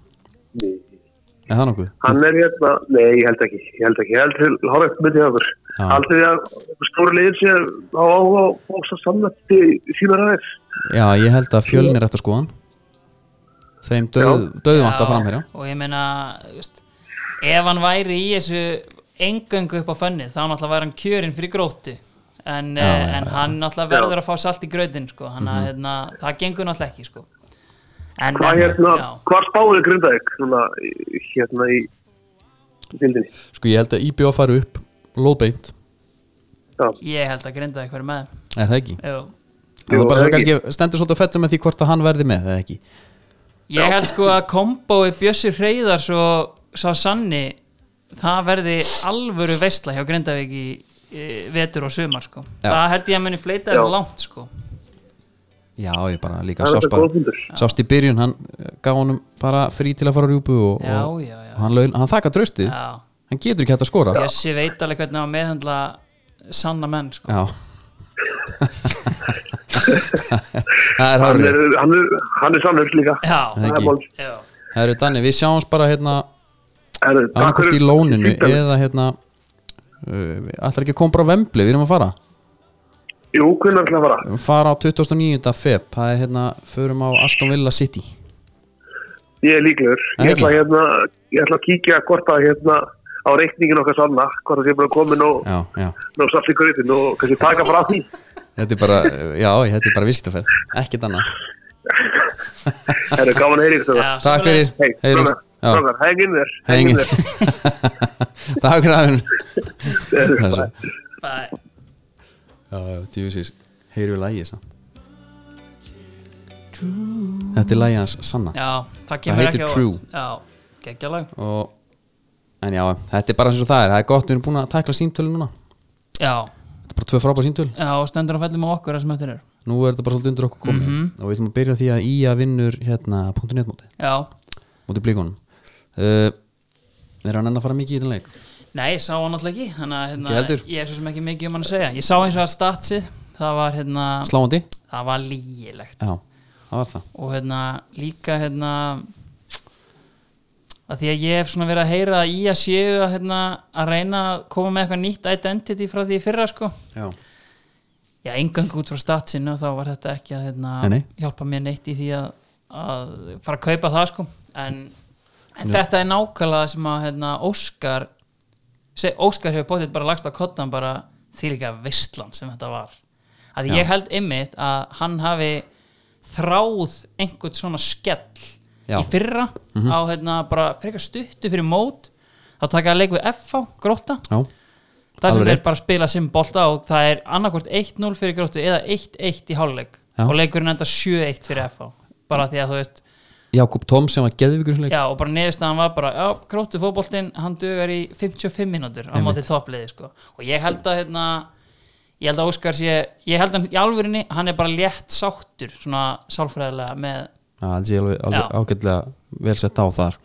Er það nokkuð?
Hann er hérna, nei, ég held ekki, ég held ekki, ég held til Hárætt myndi hjá okkur.
Já.
Aldrei að stóri liðin sé á áhuga og fólks að samlætti í sína ræðis.
Já, ég held að fjölnir eftir skoðan Þeim döð, döðvant
Já,
að framherja
Og ég meina þú veist, Ef hann væri í þessu engöngu upp á fönnið þá náttúrulega væri hann kjörinn fyrir gróttu en, já,
já, Mhm.
en hann náttúrulega verður að fá salt í gröðin sko. hann að hérna, það gengur náttúrulega ekki sko. en,
Hvað
en-
hérna,
já.
hvað spáður Grindavík, svona, í- hérna í fylgdini?
Sko, ég held að IBO fari upp Lóðbeint,
Já,
Ég held að grinda eitthvað með þeim.
er það ekki?
Jú.
Jú, það
Jú,
bara
er
svo
ekki.
kannski stendur svolítið að fellum með því hvort að hann verði með, eða ekki
Ég held sko að kombói Bjössi Hreyðars og sá Sanni það verði alvöru veistla hjá Grindavík í e, vetur og sumar sko.
Já.
það held ég að muni fleita
Já.
þeim langt sko.
Já, ég bara líka
það er
sást
þetta
bara
góðfundur.
Sást í byrjun, hann eh, gaf honum bara frí til að fara á rjúpu og,
Já,
og,
já, já.
og hann, laun, hann þakka draustið
Já.
hann getur ekki hægt að skora já,
Bjössi veit alveg hvernig á að meðhandla sanna menn sko.
það er
Hann er,
hárið
hann er, hann er sannur líka.
Já.
það er
Ekki.
ból.
Já.
það eru danni, við sjáumst bara hérna
Herru, takk
annarkort
fyrir-
í lóninu
Fínt að-
eða hérna uh, allar ekki að koma bara á vembli, við erum að fara
Jú, hvernig er það að fara?
við erum að fara á 2009. feb það er hérna, förum á Aston Villa City
Ég er líklegur.
Er
Ég
ekki?
ætla, að, hérna, ég ætla að kíkja hvort að hérna á reikningin okkar sanna, hvort að ég er bara komin og
já, já,
ná satt í gröðin og kannski taka frá því.
þetta er bara já, þetta er bara viskitaferð, ekkert annað
Það eru gaman að heyri ykkur það.
Já,
takk
svoleiðis.
fyrir,
Hei,
heyrjumst Já.
strákar, hengin þér.
Hengið
þér.
Takk fyrir aðeins
Heyrðu, bye.
Bæ.
Djúsis, heyru lægi samt Þetta er lægi hans sanna
Já, það kemur
heitir
ekki á óvart.
True.
Já, geggjalag
og, En já, þetta er bara eins og það er Það er gott, við erum búin að tækla símtölu núna
Já,
Þetta er bara tvö frábæra símtöl
já og stendur á fellum á okkur það sem eftir er
Nú er þetta bara svolítið undir okkur komið Og við ætlum að byrja á því að Ía vinnur hérna .net móti
Já,
Móti blíkunum uh, Er hann enn að fara mikið í þetta leik?
Nei, ég sá hann alltaf ekki Þannig að hérna,
Ekki heldur.
ég er svo sem ekki mikið um hann að segja Ég sá eins og að statsið Það var hérna,
Sláandi?
það var lýgilegt
Já, það var það
Og hérna líka hérna að Því að ég hef svona verið að heyra að í að séu að, hérna, að reyna að koma með eitthvað nýtt identity frá því í fyrra sko
Já,
Já, engang út frá statsinu þá var þetta ekki að hérna,
Nei, nei.
hjálpa mér neitt í því að, að fara að kaupa það sko en, en þetta er nákvæmlega sem að hérna, Óskar seg, Óskar hefur bóttið bara lagst á kottan bara því líka veistlan sem þetta var að
Já.
ég held ymmit að hann hafi þráð einhvern svona skell
Já. Mhm.
í fyrra á hérna, bara frekar stuttu fyrir mót þá takaði leik við FH, gróta
já,
það sem
Alveg
þeir
rétt.
bara spila sem bolta og það er annarkvort 1-0 fyrir gróttu eða 1-1 í hálfleik
Já.
og leikurinn enda 7-1 fyrir FH bara því að þú veist
Jakob Tom sem var geðvíkur í þessum leik.
já, og bara neðurstaðan var bara já, gróttu fótboltinn, hann dugar í 55 mínútur á móti toppliði sko. og ég held að hérna ég held að Óskar sé, ég held að hann í alvörinni hann er bara létt sáttur svona sálfræðilega með
Já, það sé alveg, alveg
Já.
ágætlega vel sett á þar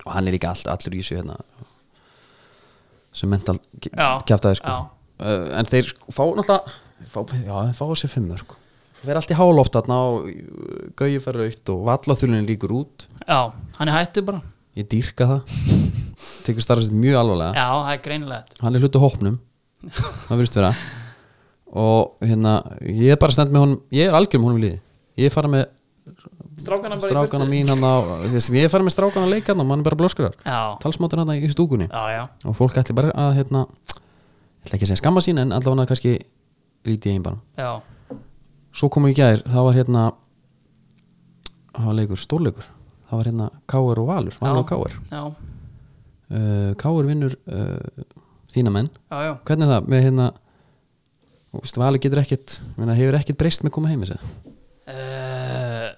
og hann er líka all, allur í þessu hérna sem mental
Já,
kjæftaði sko
já.
uh, en þeir sko fá náttúrulega fá, já, þeir fá sér fimmur sko fer allt í háloft þarna og gauði fer aukt og vallaþulun líkur út
já, hann er hættu bara
ég dýrka það tekur starfsett mjög alvarlega
já, það er greinilega
hann er hlutu hópnum það virðist vera og hérna, ég er bara stend með honum ég er algjör með honum í liði ég fara með
strákana bara í
strákana
burtu.
mín hann á þessi, ég er farin með strákana að leika hann og mann er bara blöskrar
Já.
talsmáttur hann í stúkunni
já, já,
og fólk ætli bara að hérna ég ætla ekki að segja skamma sín en allavega kannski lítið einn bara
já,
svo komum við í gær, það var hérna það var leikur, stórleikur það var hérna Káur og Valur Valur og Káur
já,
uh, Káur vinnur uh, þína menn
já, já.
hvernig er það með hérna þú veist, Valur getur ekkit minna, hefur ekkit breyst með að koma heim þessi
Uh,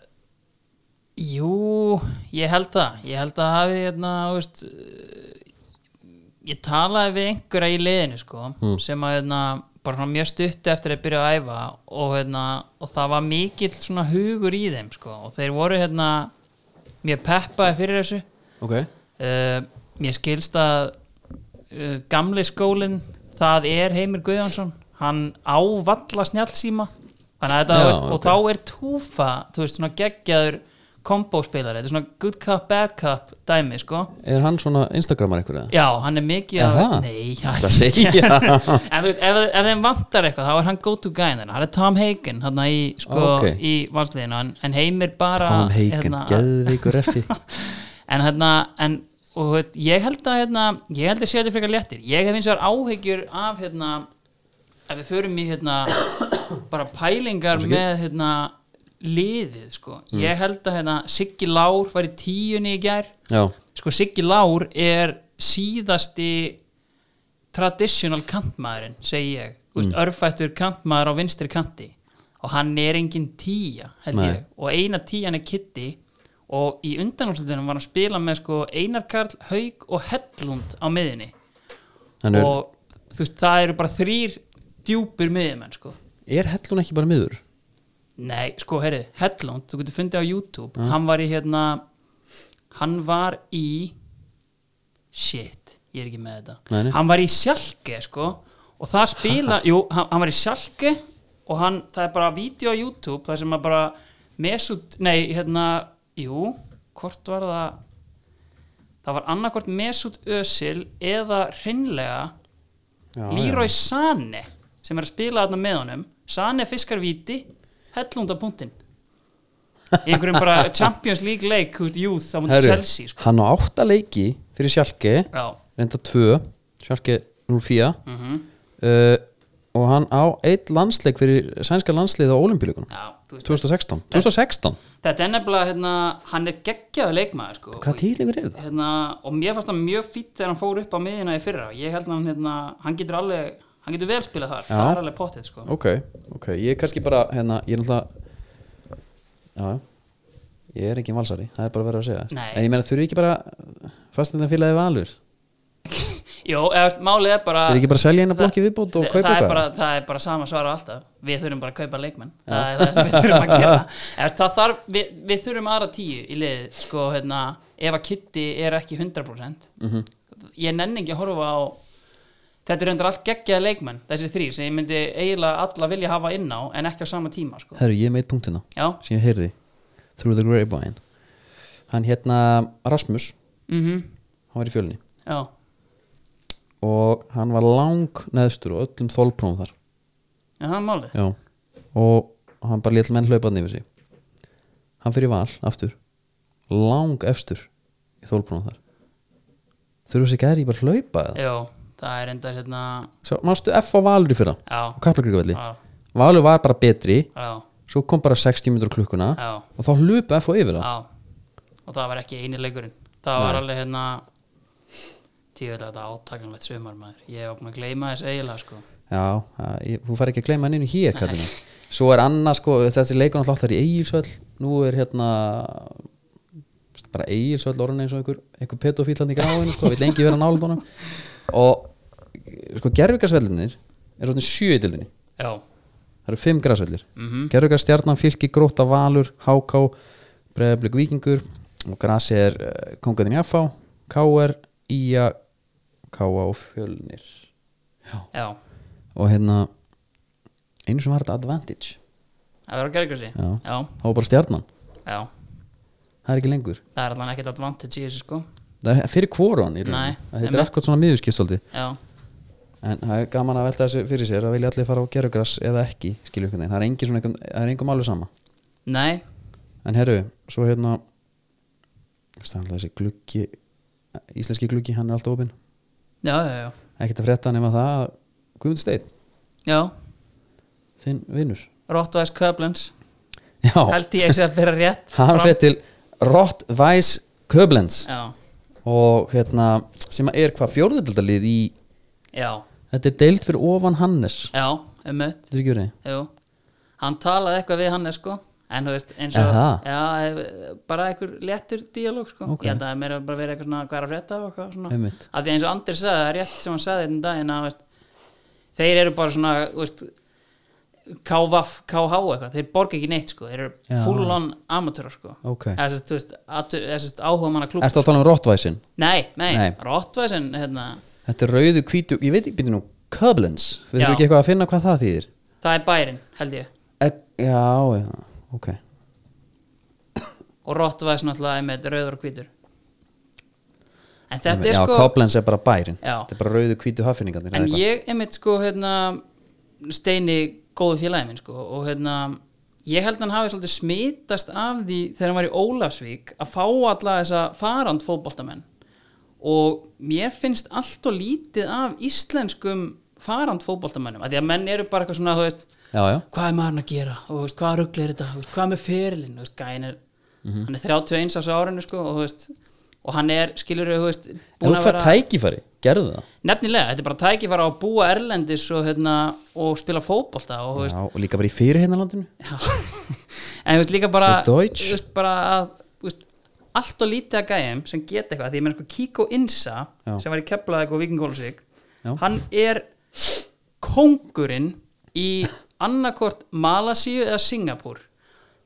jú, ég held það ég held að hafi hérna, þú veist, eh, ég talaði við einhverja í liðinu sko, sem að hérna, bara svona mjög stutt eftir að byrja að æfa og, hérna, og það var mikill svona hugur í þeim sko, og þeir voru hérna, mjög peppaði fyrir þessu
ok,
uh, mér skilst að uh, gamli skólinn það er Heimir Guðjónsson hann ávalla snjallsíma þannig að þetta,
Já,
þú veist,
ok.
og þá er túfa þú veist, svona geggjaður kombospilari, þetta er svona good cup, bad cup dæmi, sko
er hann svona Instagramar einhverja?
já, hann er mikið
Aha.
að, nei, já,
Það segja.
en þú veist, ef, ef þeim vantar eitthvað, þá er hann go to guy þeirna, hann er Tom Hagen, hann í sko,
Ah, Ok.
í valsliðinu, en, en Heimir bara
Tom Hagen,
hérna,
geðvíkur eftir
en hérna en, og þú veit, ég held að hérna, ég held að sé þetta frekar léttir ég hef eins og áhyggjur af hérna, ef við förum í hérna, bara pælingar með hérna, liðið sko.
Mm.
ég held að hérna, Siggi Lár var í tíunni í gær
já,
sko, Siggi Lár er síðasti traditional kantmaðurinn segi ég, mm. veist, örfættur kantmaður á vinstri kanti og hann er engin tíja held
Nei.
ég, og eina tíjan er Kitty og í undanúrslutunum var hann að spila með sko Einar Karl, Haug og Hellund á miðinni
hann er
og þú veist, það eru bara þrýr djúpir miðjumenn sko
Er hellun ekki bara miður?
Nei, sko, heyrðu, Headlund, þú getur fundið á YouTube Hann var í hérna Hann var í Shit, ég er ekki með þetta
Nei, nei.
Hann var í Sjalke, sko Og það spila, jú, hann, hann var í Sjalke Og hann, það er bara vídeo á YouTube Það sem að bara Mesut, nei, hérna, jú Hvort var það Það var annarkvort Mesut Özil Eða hreinlega
Já,
Leroy Sane sem er að spila þarna með honum Sane fiskar viti hellunda punktinn í einhverjum bara Champions League leik út júð á mútið Chelsea sko.
hann á átta leiki fyrir Sjalki
Já,
reynda tvö, Sjalki 04
Mhm.
uh, og hann á eitt landsleik fyrir sænska landslið á Olimpíuleikunum
já, þú veist
2016 2016?
Þetta er nefnilega, hérna, hann er geggjaður leikmaður sko,
Hvað tíðlingur er það?
hérna, og mér fannst hann mjög fýtt þegar hann fór upp á miðina í fyrra ég held að hann, hérna, hann getur alveg hann getur vel spilað þar,
Já.
það er alveg pottið sko.
Ok, ok, ég er kannski bara hérna, ég er náttúrulega já, ég er ekki valsari það er bara verið að segja
Nei.
en ég meina þurfi ekki bara fastindan félagi valur
Jó, eða, veist, málið er bara
Þeir ekki bara að selja eina blokk í viðbót og
Þa-
kaupa
Ah, það er
eitthvað?
bara, það er bara sama svar á alltaf við þurfum bara að kaupa leikmenn það er það sem við þurfum að gera Eða, það þarf, við, við þurfum aðra tíu í liðið sko, hérna, ef að Kitty er ekki 100%
Mhm.
ég nenni ekki að horfa á þetta er undir allt geggjaða leikmenn þessi þrýr sem ég myndi eiginlega alla vilja hafa inn á en ekki á sama tíma sko.
Herru, ég meit punktina
já,
sem ég heyrði Through the Grapevine hann hérna Rasmus
mhm
hann var í fjölni
já,
og hann var lang neðstur og öllum þólprófum þar
já, það er málið
Já. og hann bara létt menn hlaupaðn yfir sig hann fyrir val aftur lang efstur í þólprófum þar þurfa þessi gæri bara að hlaupa eða?
já, það er undir hérna
Svo, manstu F á valur í fyrra
já,
á Kaplakrikavelli
já,
valur var bara betri
já,
svo kom bara 60 minnur klukkuna
já.
og þá hlupa F á yfir það
Já, og það var ekki eini leikurinn það var alveg hérna tíu þetta átakanlegt sumar maður ég var búin að gleyma þess eiginlega sko
Já, það- ég- þú fær ekki að gleyma henni hér kallinu. Svo er annað sko, þessi leikur náttúrulega alltaf er í Egilsvöll Nú er hérna bara Egilsvöll orðin eins og einhver, einhver pedofílandi gráðinu sko, vill lengi vera nálægt honum og sko gerfingarsvellinir er orðin sjö í dildinni
já,
það eru fimm græsvellir mm
Mhm.
-hmm. Gerðugarstjarnan, Fylki, Gróta, Valur Háká, Breiðablík, Víkingur og grasi er uh, Kongaðin Jafá K.R. Ía K.A. og Fjölnir
já,
og hérna einu sem var þetta Advantage
það verður að gera ykkur sér
Já.
já,
það var bara stjarnan,
já,
það er ekki lengur
það er allan ekkert advantage í þessu sko
það er fyrir kvoran í
Nei,
rauninni, það heitir
einmitt.
ekkert svona miðurskipstóldi
já,
en það er gaman að velta þessu fyrir sér að vilja allir fara á gerugras eða ekki skilju ykkur það er engin svona, einhver- það er engum alveg sama
nei,
En herru, svo hérna Það er alltaf þessi gluggi Íslenski gluggi, hann er alltaf opinn
já, já, já
Ekkert að frétta nema það að Guðmund Steinn,
já,
þinn vinnur
Rottvæs Köblens
Já,
held ég ekki að byrja rétt
hann
Rott-
fyrir til Rottweiss Köblens
já,
og hérna, sem er hvað fjórðutildalið í
já,
Þetta er deild fyrir ofan Hannes
já, um öll
Þetta er ekki verið
Jú, hann talaði eitthvað við hann sko En þú veist, eins og
Aha.
já, eh, bara einhver léttur díalóg sko.
Ok. Um.
Ég held að það meira bara verið eitthvað svona hvað er að frétta og eitthvað svona
Einmitt.
Af því eins og Andri sagði, það er rétt sem hann sagði þetta daginn að veist, þeir eru bara svona þú veist, KVF, KH eitthvað þeir borga ekki neitt sko, þeir eru
Já.
full on amatörar sko
Ok.
Eða sem sagt, þú veist, atur- eða sem sagt, áhuga manna klúb
Ertu að tala um Rottweissin?
Nei, nei, nei.
Nei.
Rottvæsin hérna,
Þetta er rauðu hvítu, ég veit ekki byrja nú Köblens, við
Já. Eh,
erum ekki eitthvað að finna hvað það þýðir
það er bærin, held ég
e Já, já, ok
og Rottvæs náttúrulega er með rauður og hvítur en þetta
Já,
er sko
Koblenz er bara bærin
Já.
Þetta er bara rauðu hvítu haffinningarnir
en ég einmitt sko hérna, steini góðu félagi minn sko og hérna ég held að hann hafi svolítið smitast af því þegar hann var í Ólafsvík að fá alla þessa farand fótboltamenn og mér finnst allt og lítið af íslenskum farand fótboltamennum að því að menn eru bara eitthvað svona þú veist
Já, já,
hvað er maðurinn að gera og þú veist, hvað ruggli er þetta Þú veist, hvað með ferilinn Þú veist, gæin er, hann er 31 ás árinu sko, og, þú veist, og hann er skilur þú veist,
ef þú fær tækifæri, gerðu það
nefnilega, þetta er bara tækifæra á að búa erlendis og, hérna, og spila fótbolta og, þú veist,
já, Og líka bara í fyrir hérna landinu
Já. en þú veist líka bara,
So Deutsch.
þú veist, bara að, þú veist, allt og lítið að gæjum sem geta eitthvað, því ég meina sko Kiko Insa
Já.
sem var í Keflaðið og Vikingólusvík
Já.
hann er kóngurinn í annarkort Malasíu eða Singapúr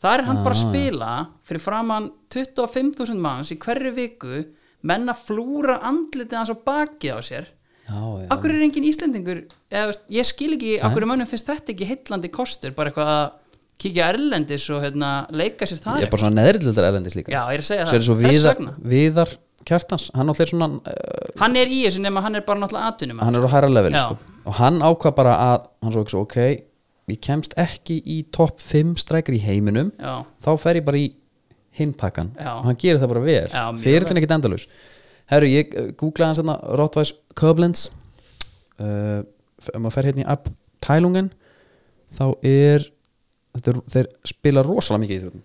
þar er hann bara að
Ah.
spila fyrir framann 25.000 manns í hverju viku menn að flúra andlitið hans á bakið á sér
Já, já,
Akkur er engin Íslendingur eða, veist, ég skil ekki, akkur er mönnum finnst þetta ekki heillandi kostur, bara eitthvað að kíkja erlendis og hérna, leika sér það
ég er bara svona neðrildildar erlendis líka
Já, ég er að segja
Svo
það.
er svo
Þess
viðar,
vegna.
viðar kjartans Hann allir svona, uh,
Hann er í þessu nema hann er bara náttúrulega atvinnum
hann er á hæra level
Já.
sko. Og hann ákvað bara að, hann svo ekki svo, ok Ég kemst ekki í topp 5 strækir í heiminum
Já.
Þá fer ég bara í hinpakkan
Já.
Og hann gerir það bara vel
Já, mjög
Fyrir þetta ekkit endalaus Herru, ég uh, googlaði hans hérna Rottweiss Koblenz uh, f- ef maður fer hérna í app Tælungen þá er, þetta er þeir spila rosalega mikið í þrjóðum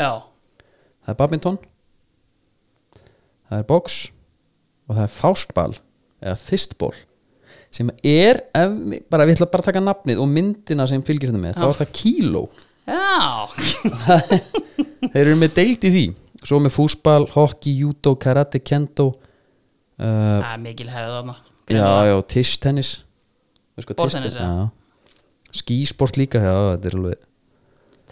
Já,
það er badminton það er box og það er fástball eða fistball sem er, ef, mi- bara við ætla bara að taka nafnið og myndina sem fylgir þetta með, þá er það kíló
já
þeir eru með deild í því svo með fúsball, hockey, judo, karate, kendo uh,
Það er mikil hefð þarna
já, já, tischtennis Þú veist hvað
Borðtennis,
tischtennis-
já.
já. skísport líka, já, þetta er alveg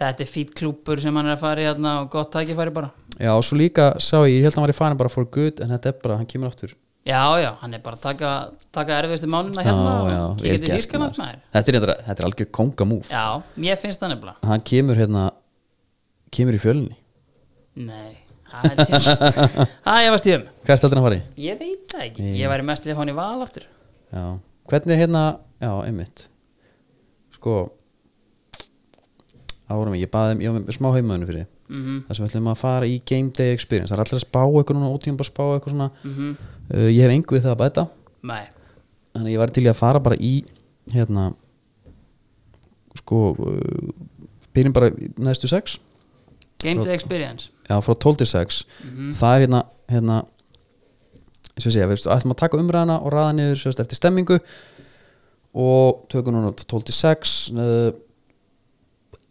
Þetta er fýtt klúpur sem hann er að fara í hérna og gott tækifæri bara
já, og svo líka, sá ég, ég held að hann var í farin bara for good, en þetta er bara, hann kemur aftur
Já, já, hann er bara að taka, taka erfiðustu mánuna hérna
já, já, vel
og kíkja til
gert,
Þýskanast
maður.
maður
þetta er, reyndar- þetta er algjör kongamúf
Já, mér finnst það nefnilega
hann kemur hérna kemur í fjölinni,
Nei, það held ég Það ég varst ég um
hvað er steltin að fara í?
Ég veit það ekki, ég væri mest liðið hann í val aftur
já, hvernig hérna já, einmitt sko árum ég baði, ég var með smá heimaðinu fyrir mm
Mhm.
þar sem við ætlum að fara í game day experience það er allir að spá eitthvað núna, ótíma bara að spá eitthvað svona
Mhm.
uh, ég hef engu við það að bæta
Nei,
þannig að ég var til í að fara bara í hérna sko uh, byrjum bara í næstu sex
Game Day Experience
já, frá 12 til 6 það er hérna, hérna eins og ég segja, við ætlum að taka umræðana og ræða niður sérst, eftir stemmingu og tökum núna 12 til 6 uh,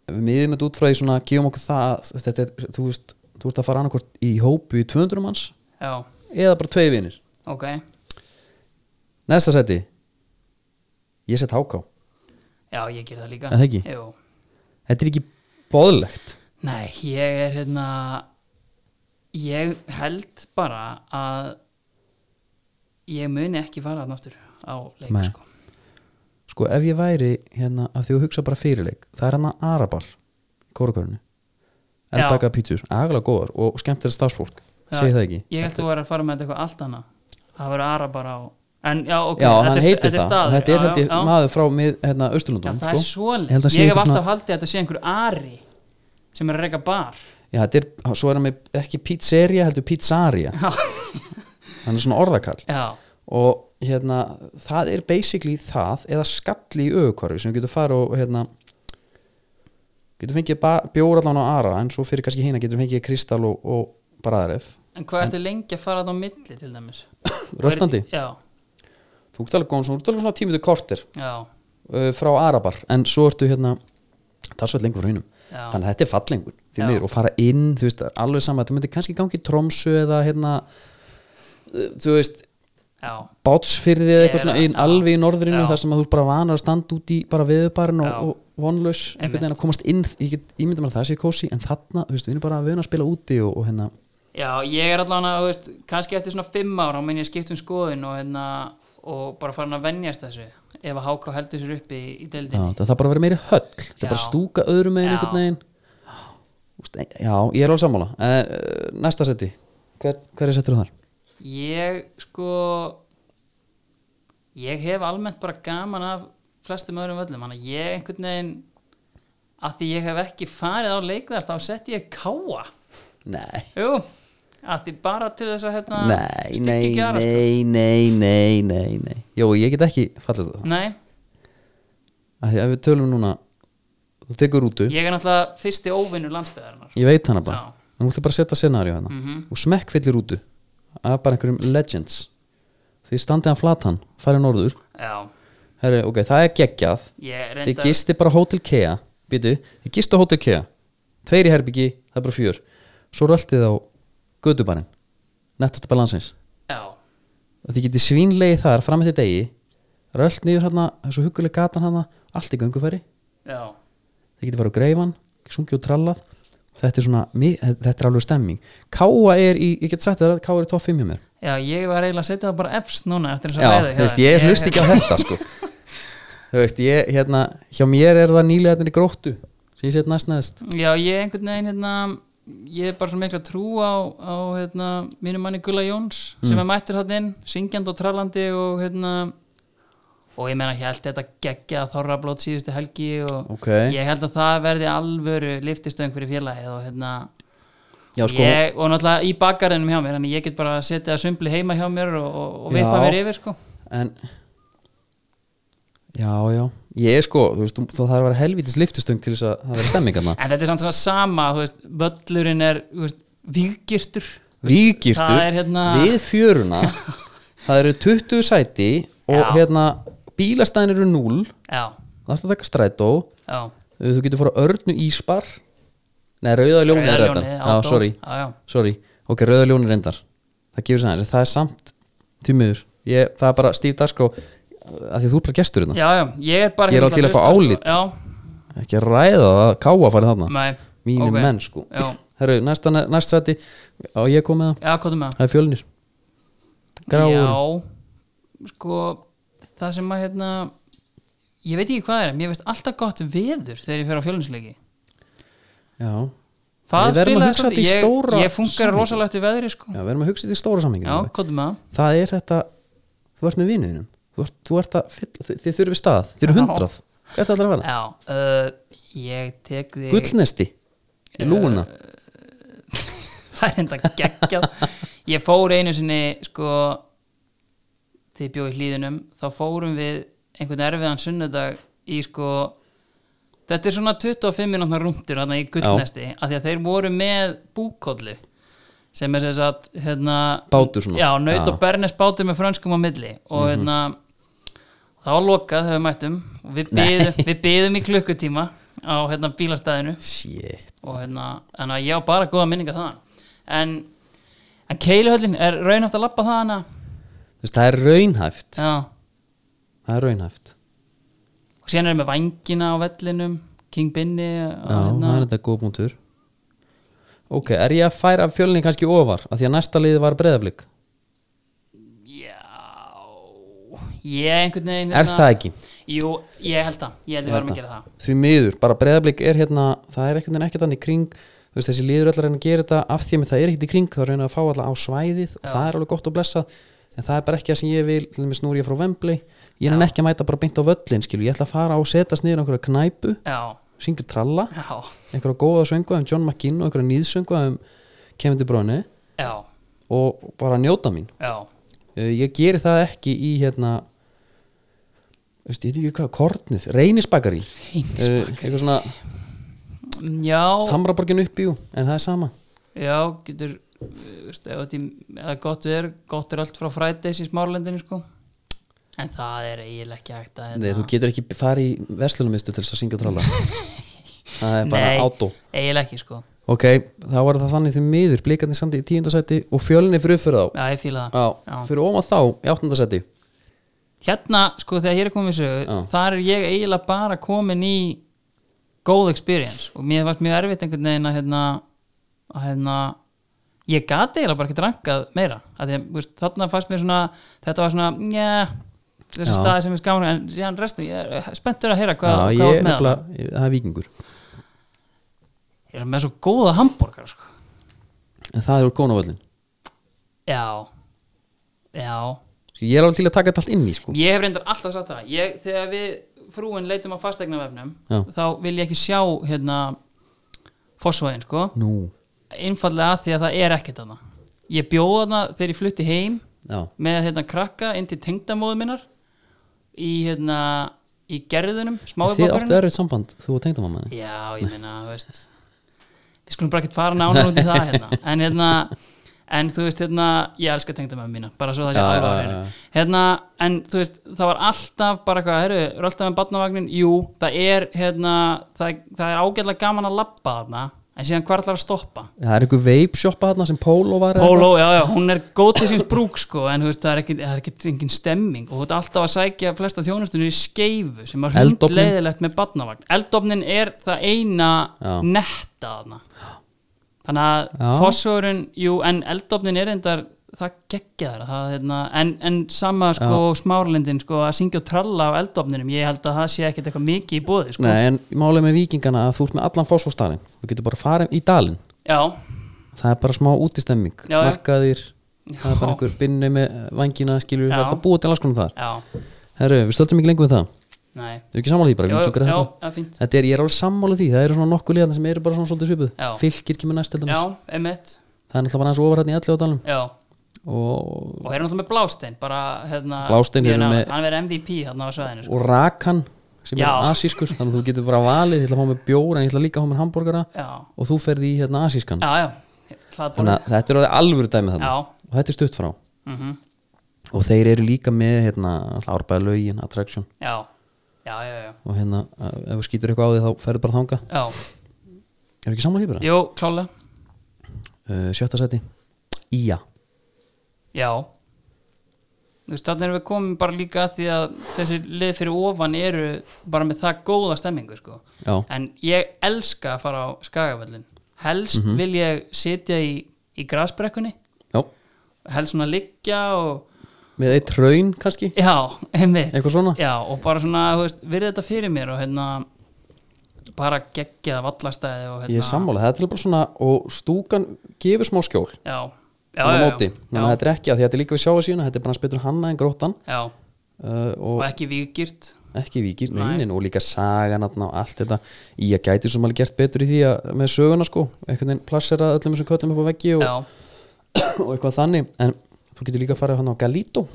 við miðum þetta út frá því svona gefum okkur það þetta, er, þú veist, þú ert að fara annarkvort í hópu í 200 manns
já,
eða bara tvei vinir
ok
næsta seti ég set háká,
já, ég ger það líka
Er það ekki?
Jú.
þetta er ekki boðlegt
nei, ég er hérna ég held bara að ég muni ekki fara þarna aftur á leik
Nei.
sko.
sko ef ég væri hérna að því að hugsa bara fyrirleik það er hann að Arabar kórakörinu
Já.
eldbaka pítsur, agalega góðar og skemmtilega starfsfólk,
Já,
segi það ekki
ég held þú var að fara með þetta eitthvað allt annað það verður ara bara á en já, ok,
já,
þetta,
hann
er-
heitir
þetta er
það
staður
þetta er
Já,
held ég
já, já.
maður frá mið, hérna,
Já,
Östurlundum
það
Ég
er
held
svoleið
að sé
Ég hef
eitthvað
alltaf
svona-
haldið að þetta sé einhver ari sem er að reyka bar
já, þetta er, svo er hann með ekki pizzeria heldur pizzaria
Já,
hann er svona orðakall
já,
og hérna, það er basically það eða skalli í auðkvarfi sem getur fara og hérna getur fengið ba- bjór allan á ara en svo fyrir kannski hina getur fengið kristall og, og bræðaref
en hvað ertu lengi að fara þá á milli til dæmis?
röstandi,
Já,
þú ert alveg góðan svona, þú ert alveg svona tímið kortir
já,
uh, frá Arabar, en svo ertu hérna það er svo lengur frá hinnum
Já.
þannig að þetta er fallengur, því
Já.
miður, og fara inn þú veist, alveg sama, þetta myndi kannski gangi trómsu eða hérna uh, þú veist,
já
bátsfyrði eða eitthvað
Eða,
svona inn,
já.
alveg í norðrinu
Já.
þar sem að þú ert bara vanar að standa út í bara veðubarinn
Já.
og, og vonlaus einhvern veginn að komast inn, ég get ímynda mér að það sé kósi en þarna, þú veist, við erum bara að vöna að spila úti og, og hérna,
Já, ég er allan að, þú veist, kannski eftir svona fimm ára menn ég skipt um skoðun og hérna og bara farin að venjast þessu ef að HK heldur sér uppi í
já,
deildinni
það þarf bara að vera meiri höll þetta
Já.
er bara að stúka öðrum meginn
Já.
einhvern veginn Þú veist, ein- já, ég er alveg sammála en, eh, næsta seti, hver, hver er settur þar?
Ég, sko ég hef almennt bara gaman af flestum öðrum völlum, hann að ég einhvern veginn að því ég hef ekki farið á leik þar þá sett ég káa
Nei
Jú, að því bara til þess að hérna,
Nei,
styrkja
nei,
gjara, sko.
nei, nei, nei, nei, nei Jó, ég get ekki fallast á það
Nei,
Af því að við tölum núna Þú tekur rútu,
ég er náttúrulega fyrsti óvinnur landsbyðarinnar
ég veit hana bara
Já.
En þú ætla bara að setja scenarió hérna Og smekk fyllir rútu Af bara einhverjum legends Því standið hann flatan, farið norður
Já,
Herri, ok, það er geggjað
ég
Þið
reynda
gisti bara Hotel Kea Býtu, þið gistu á Hotel Kea Tveir í herbyggi, það er bara fjör Svo röltið á Götubarinn Nettasta balansins
Já,
að þið getið svínlegið þar fram eftir degi rölt niður hérna, þessu hugguleg gatan hérna allt í göngufæri,
já,
þið getið farið á greifan sungið og trallað þetta er svona, mi- þetta er alveg stemming Káa er í, ég get sagt þér að Káa er í topp 5 hjá mér
já, ég var eiginlega að setja það bara efst núna eftir þess
Já,
að ræðu hérna.
þú veist, ég hlust ekki á þetta sko Þú veist, ég, hérna hjá mér er það nýlega þetta í gróttu sem ég set næst næst
Já, ég einhvern veginn hérna, ég er bara svona mikla trú á, á hérna, mínu manni Gulla Jóns
Mm.
sem er mættur hann inn, syngjandi og trallandi og hérna og ég meina, ég held þetta geggja að þorra blót síðustu helgi og
Ok.
ég held að það verði alvöru liftistöng fyrir félagið og hérna
Já, sko,
ég, og náttúrulega í bakarinnum hjá mér þannig ég get bara að setja sumbli heima hjá mér og, og, og vippa
Já.
mér yfir sko
en Já, já, ég er sko þú veist, þú- það þarf að vera helvítis liftustöng til þess að það vera stemmingarna
en þetta er samt svona sama, þú veist, völlurinn er þú veist, víggirtur
Vígirtur
Það er hérna-
við fjöruna það eru 20 sæti og
Já.
hérna bílastæðin eru 0
já,
það er að taka strætó
já,
þú getur fara örnu íspar nei, rauða ljóni
Rauða
er þetta
ljónið,
já,
Adó.
sorry.
Já, já.
sorry, ok, rauða ljóni reyndar það gefur sæðan, það er samt tímiður, ég, það er bara stíf dagskrá að því þú er bara gestur hérna
já, já ég er bara
Ég er á
hérna
til að fá
hlusta, sko.
álit.
já,
ekki að ræða það að káa farið þarna
Nei,
mínir
Mm, ok.
menn sko
Já.
Herru, næsta, næsta sæti á ég komið það,
já, hvað með það?
það er fjölnir gráur
já, sko það sem að hérna ég veit ekki hvað er, mér veist alltaf gott veður þegar ég fer á fjölinsleiki
Já
það
Við verðum að
spilaði
hugsa þetta í
svolítið-
stóra
ég, ég funkar
samhengi.
rosalega eftir veðri sko
Já, við erum að hugsa þetta í stóra
já,
samhenginu
hvað með það?
Það er þetta, þú ert með vinuðinum þú, ert- þú ert að, fylla- þið, þið þurfið stað Þið eru
Já.
hundrað, hvað er þetta allra að vera?
já, uh, ég tek því
Gullnesti, í lúuna
það er enda geggjað ég fór einu sinni sko þegar ég bjó í hlýðunum þá fórum við einhvern erfiðan sunnudag í sko þetta er svona 25 minútna rúndur þarna í gullnesti af því að þeir voru með búkollu sem er sem sagt hérna,
Bátur svona.
já, naut
Já. Mhm.
og bernes bátur með frönskum á milli og hérna þá var lokað þegar við mættum og við byðum, við byðum í klukkutíma á hérna, bílastæðinu
Shit
og hérna, þannig að ég á bara góða minninga þaðan en, en keiluhöllin er raunhaft að labba þaðan að-
Þú veist, það er raunhæft
já,
Það er raunhæft
og síðan erum við vangina á vellinum King Binni og,
Já, það er
hérna,
þetta góð punktur Ok, er ég að færa fjölni kannski ofar af því að næsta liði var breyðablík
já ég einhvern veginn hérna-
Er það ekki?
jú, ég held það, ég held við varum að gera það
Því miður, bara breyðablík er hérna það er ekkert en ekkert annað í kring þú veist, þessi liður allar reyna að gera þetta af því að það er ekkert í kring þá reyna að fá alla á svæðið og það er alveg gott og blessað en það er bara ekki að sem ég vil til þess nú er ég frá Vembli ég er ekki að mæta bara beint á völlin skilu ég ætla að fara á að setast niður á einhverja knæpu
já,
syngur tralla
já,
einhverja góða söngu um John McKinn og einhverja nýðsöngu um Kevin De Bruyne
já,
og bara njóta mín
já
Eh, ég geri það ekki í hérna þú veist, ég veit ekki hvað, kornið reynisbakari
Reynisbakarí.
Eh, eitthvað svona
já,
Hamraborgin upp í jú en það er sama
já, getur þú veist, ef þetta er- eða gott er gott er allt frá frædis í smárlendinu sko en það er eiginlega ekki hægt að hérna-
Nei, þú getur ekki farið í verslunumistu til þess að syngja og tralla það er bara átó
eiginlega ekki sko
ok, þá var það þannig því miður blíkarnir samt í tíundasæti og fjölni fyrir upp fyrir þá
Já, ég fíla
já,
það
fyrir ofan þá í áttundasæti
Hérna, sko, þegar ég er komið sögu
Já.
þar er ég eiginlega bara komin í góð experience og mér varst mjög erfitt einhvern veginn að hérna, að hérna ég gati eiginlega bara ekki drankað meira að því, að, þú veist, þarna fannst mér svona þetta var svona, njá þessi
Já.
staði sem er skamur en síðan restu, ég er spenntur að heyra
já,
hvað,
ég er
hvað átt með
nefnilega,
það
það er vikingur
Ég er með svo góða hambúrgar, sko
en það er úr gónavöllin
Já, já
ég er alveg til að taka þetta allt inn í sko
Ég hef reyndar alltaf sagt það ég, Þegar við frúin leitum á fastegnavefnum
Já.
þá vil ég ekki sjá hérna, fósvæðin sko
nú,
einfallega af því að það er ekkert þarna Ég bjóð þarna þegar ég flutti heim
já,
með hérna, krakka inn til tengdamóðu minnar í, hérna, í gerðunum
þið áttu
smáðubokkurinn
erfið samband þú og tengdamamma þín.
Já, ég meina, þú veist Við skulum bara ekkert fara nánar út í það hérna. En hérna En þú veist, hérna, ég elska tengdamöðu mína bara svo það sé
Já, já,
alveg að
já,
reyna
já.
hérna, en þú veist, það var alltaf bara eitthvað, herru, rölda með barnavagnin jú, það er, hérna það, það er ágætlega gaman að labba þarna en síðan hvað ætlar að stoppa
það er einhver vape shoppa þarna sem Polo var eða
Póló, já, já, hún er góð til síns brúk sko, en þú veist, það er ekki, það er ekki engin stemming og þú ert alltaf að sækja flesta þjónustunir í skeifu sem er
Eldofninn?
hundleiðilegt með barnavagn Eldofnin er það eina
Já.
netta þarna þannig að
Já.
fósfórun, jú, en eldofnin er endar það geggja þar það, hérna, en, en sama sko smárlindin sko, að syngja og tralla á eldofninum ég held að það sé ekkert eitthvað mikið í bóði sko.
Nei, en málið með vikingana að þú ert með allan fósfórstalin þú getur bara farið í dalin
já,
það er bara smá útistemming
Já, já.
markaðir, það er
Já.
bara einhver binni með vangina skilur
Já.
það er alltaf búið til alls konar þar
já,
Herru, við stöldum ekki lengur við það,
nei
þau ekki sammála því bara
Jú,
við
jú,
viljum gera
já,
þetta.
það er fínt.
þetta er, ég er alveg sammála því, það eru svona nokkuð liðan sem eru bara svona svolítið svipuð
Já.
fylgir kemur næst til
já,
dæmis,
emitt,
það er náttúrulega bara aðeins ofar hérna í allu á dalum
já
og,
og þeir eru náttúrulega með Blástein bara hérna
Blástein
ég
eru
ná-
með-
hann verið MVP hérna á svæðinu sko.
og rakan sem
Já.
er asískur, þannig að þú getur bara valið ég ætla að fá með bjóra, en ég ætla líka að fá með hambúrgara
já,
og þú ferði í hérna asískan
já, já hlaðbóla,
þannig að þetta er orðið alvöru dæmi þannig
Já.
og þetta er stutt frá
mm
og þeir eru líka með hérna, árbæða lögin, attraction
já já, já, já,
og hérna, eh, ef þú skýtur eitthvað á því þá ferðu bara þanga,
já
eru ekki samlega fyrir það?
jú, klálega,
Uh, sjötta seti, Ía
já þú veist, þannig erum við komin bara líka að því að þessi lið fyrir ofan eru bara með það góða stemmingu sko.
Já.
en ég elska að fara á skagafellin helst
Mhm.
vil ég sitja í, í grasbrekkunni
já,
helst svona liggja og
með eitt raun kannski
Já, einmitt
Eitthvað svona?
Já, og bara svona, þú veist, virði þetta fyrir mér og hérna bara geggjað vallastæði og hérna
ég er sammála, þetta er bara svona og stúkan gefur smá skjól
Já, já,
á
já,
móti,
já,
þannig að þetta er ekki að því að þetta er líka við sjáum síðan þetta er bara spytur hanna en gróttan
já,
uh,
og
og
ekki vikgirt
ekki vikir,
Nei.
neinin og líka sagan þarna og allt þetta, Ía gæti sem alveg gert betur í því að með söguna sko einhvern veginn plassera öllum þessum köllum upp á veggi og,
Já,
og eitthvað þannig, en þú getur líka að fara hann á Galito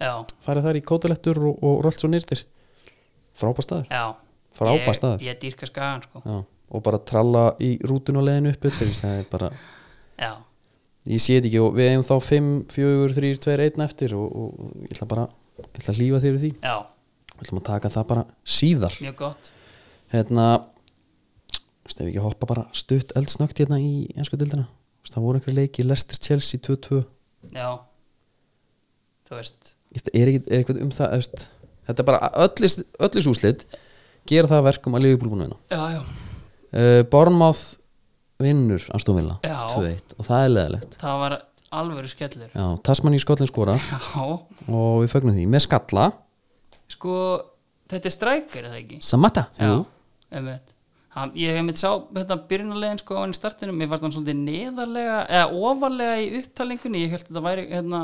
já,
farið þar í kótalettur og, og rölt svo nýrtir frábæð staður
já
Frábær
Ég-
staður.
Ég dýrka skagan, sko
Já. og bara tralla í rútun og leiðinu upp yfir, það er bara
Já,
ég sé þetta ekki og við eigum þá 5, 4, 3, 2, 1 eftir og, og, og ég ætla bara ég ætla að lífa þér við því
Já,
við ætlum að taka það bara síðar
mjög gott
hérna þú veist ef við ekki hoppa bara stutt eldsnögt hérna í ennsku dildina það voru einhverju leiki Leicester Chelsea 2-2
Já Þú veist
Ég veist, er, ekki- er eitthvað um það þú veist, þetta er bara öllis, öllis úslit gera það að verkum að liðbúl búin að vinna
Já, já,
uh, Bornmáð vinnur Aston Villa
Já.
2-1 og það er leðilegt
það var alvöru skellur
Já, Tasman í Skotlinn skora
Já,
og við fögnum því með skalla
sko Þetta er strækir, er það ekki?
Samata
Já, einmitt hann, Ég hef einmitt sá þetta byrjunarlegin sko á hann í startinu, mér varst hann svolítið neðarlega eða ofarlega í upptalingunni ég held að þetta væri hérna,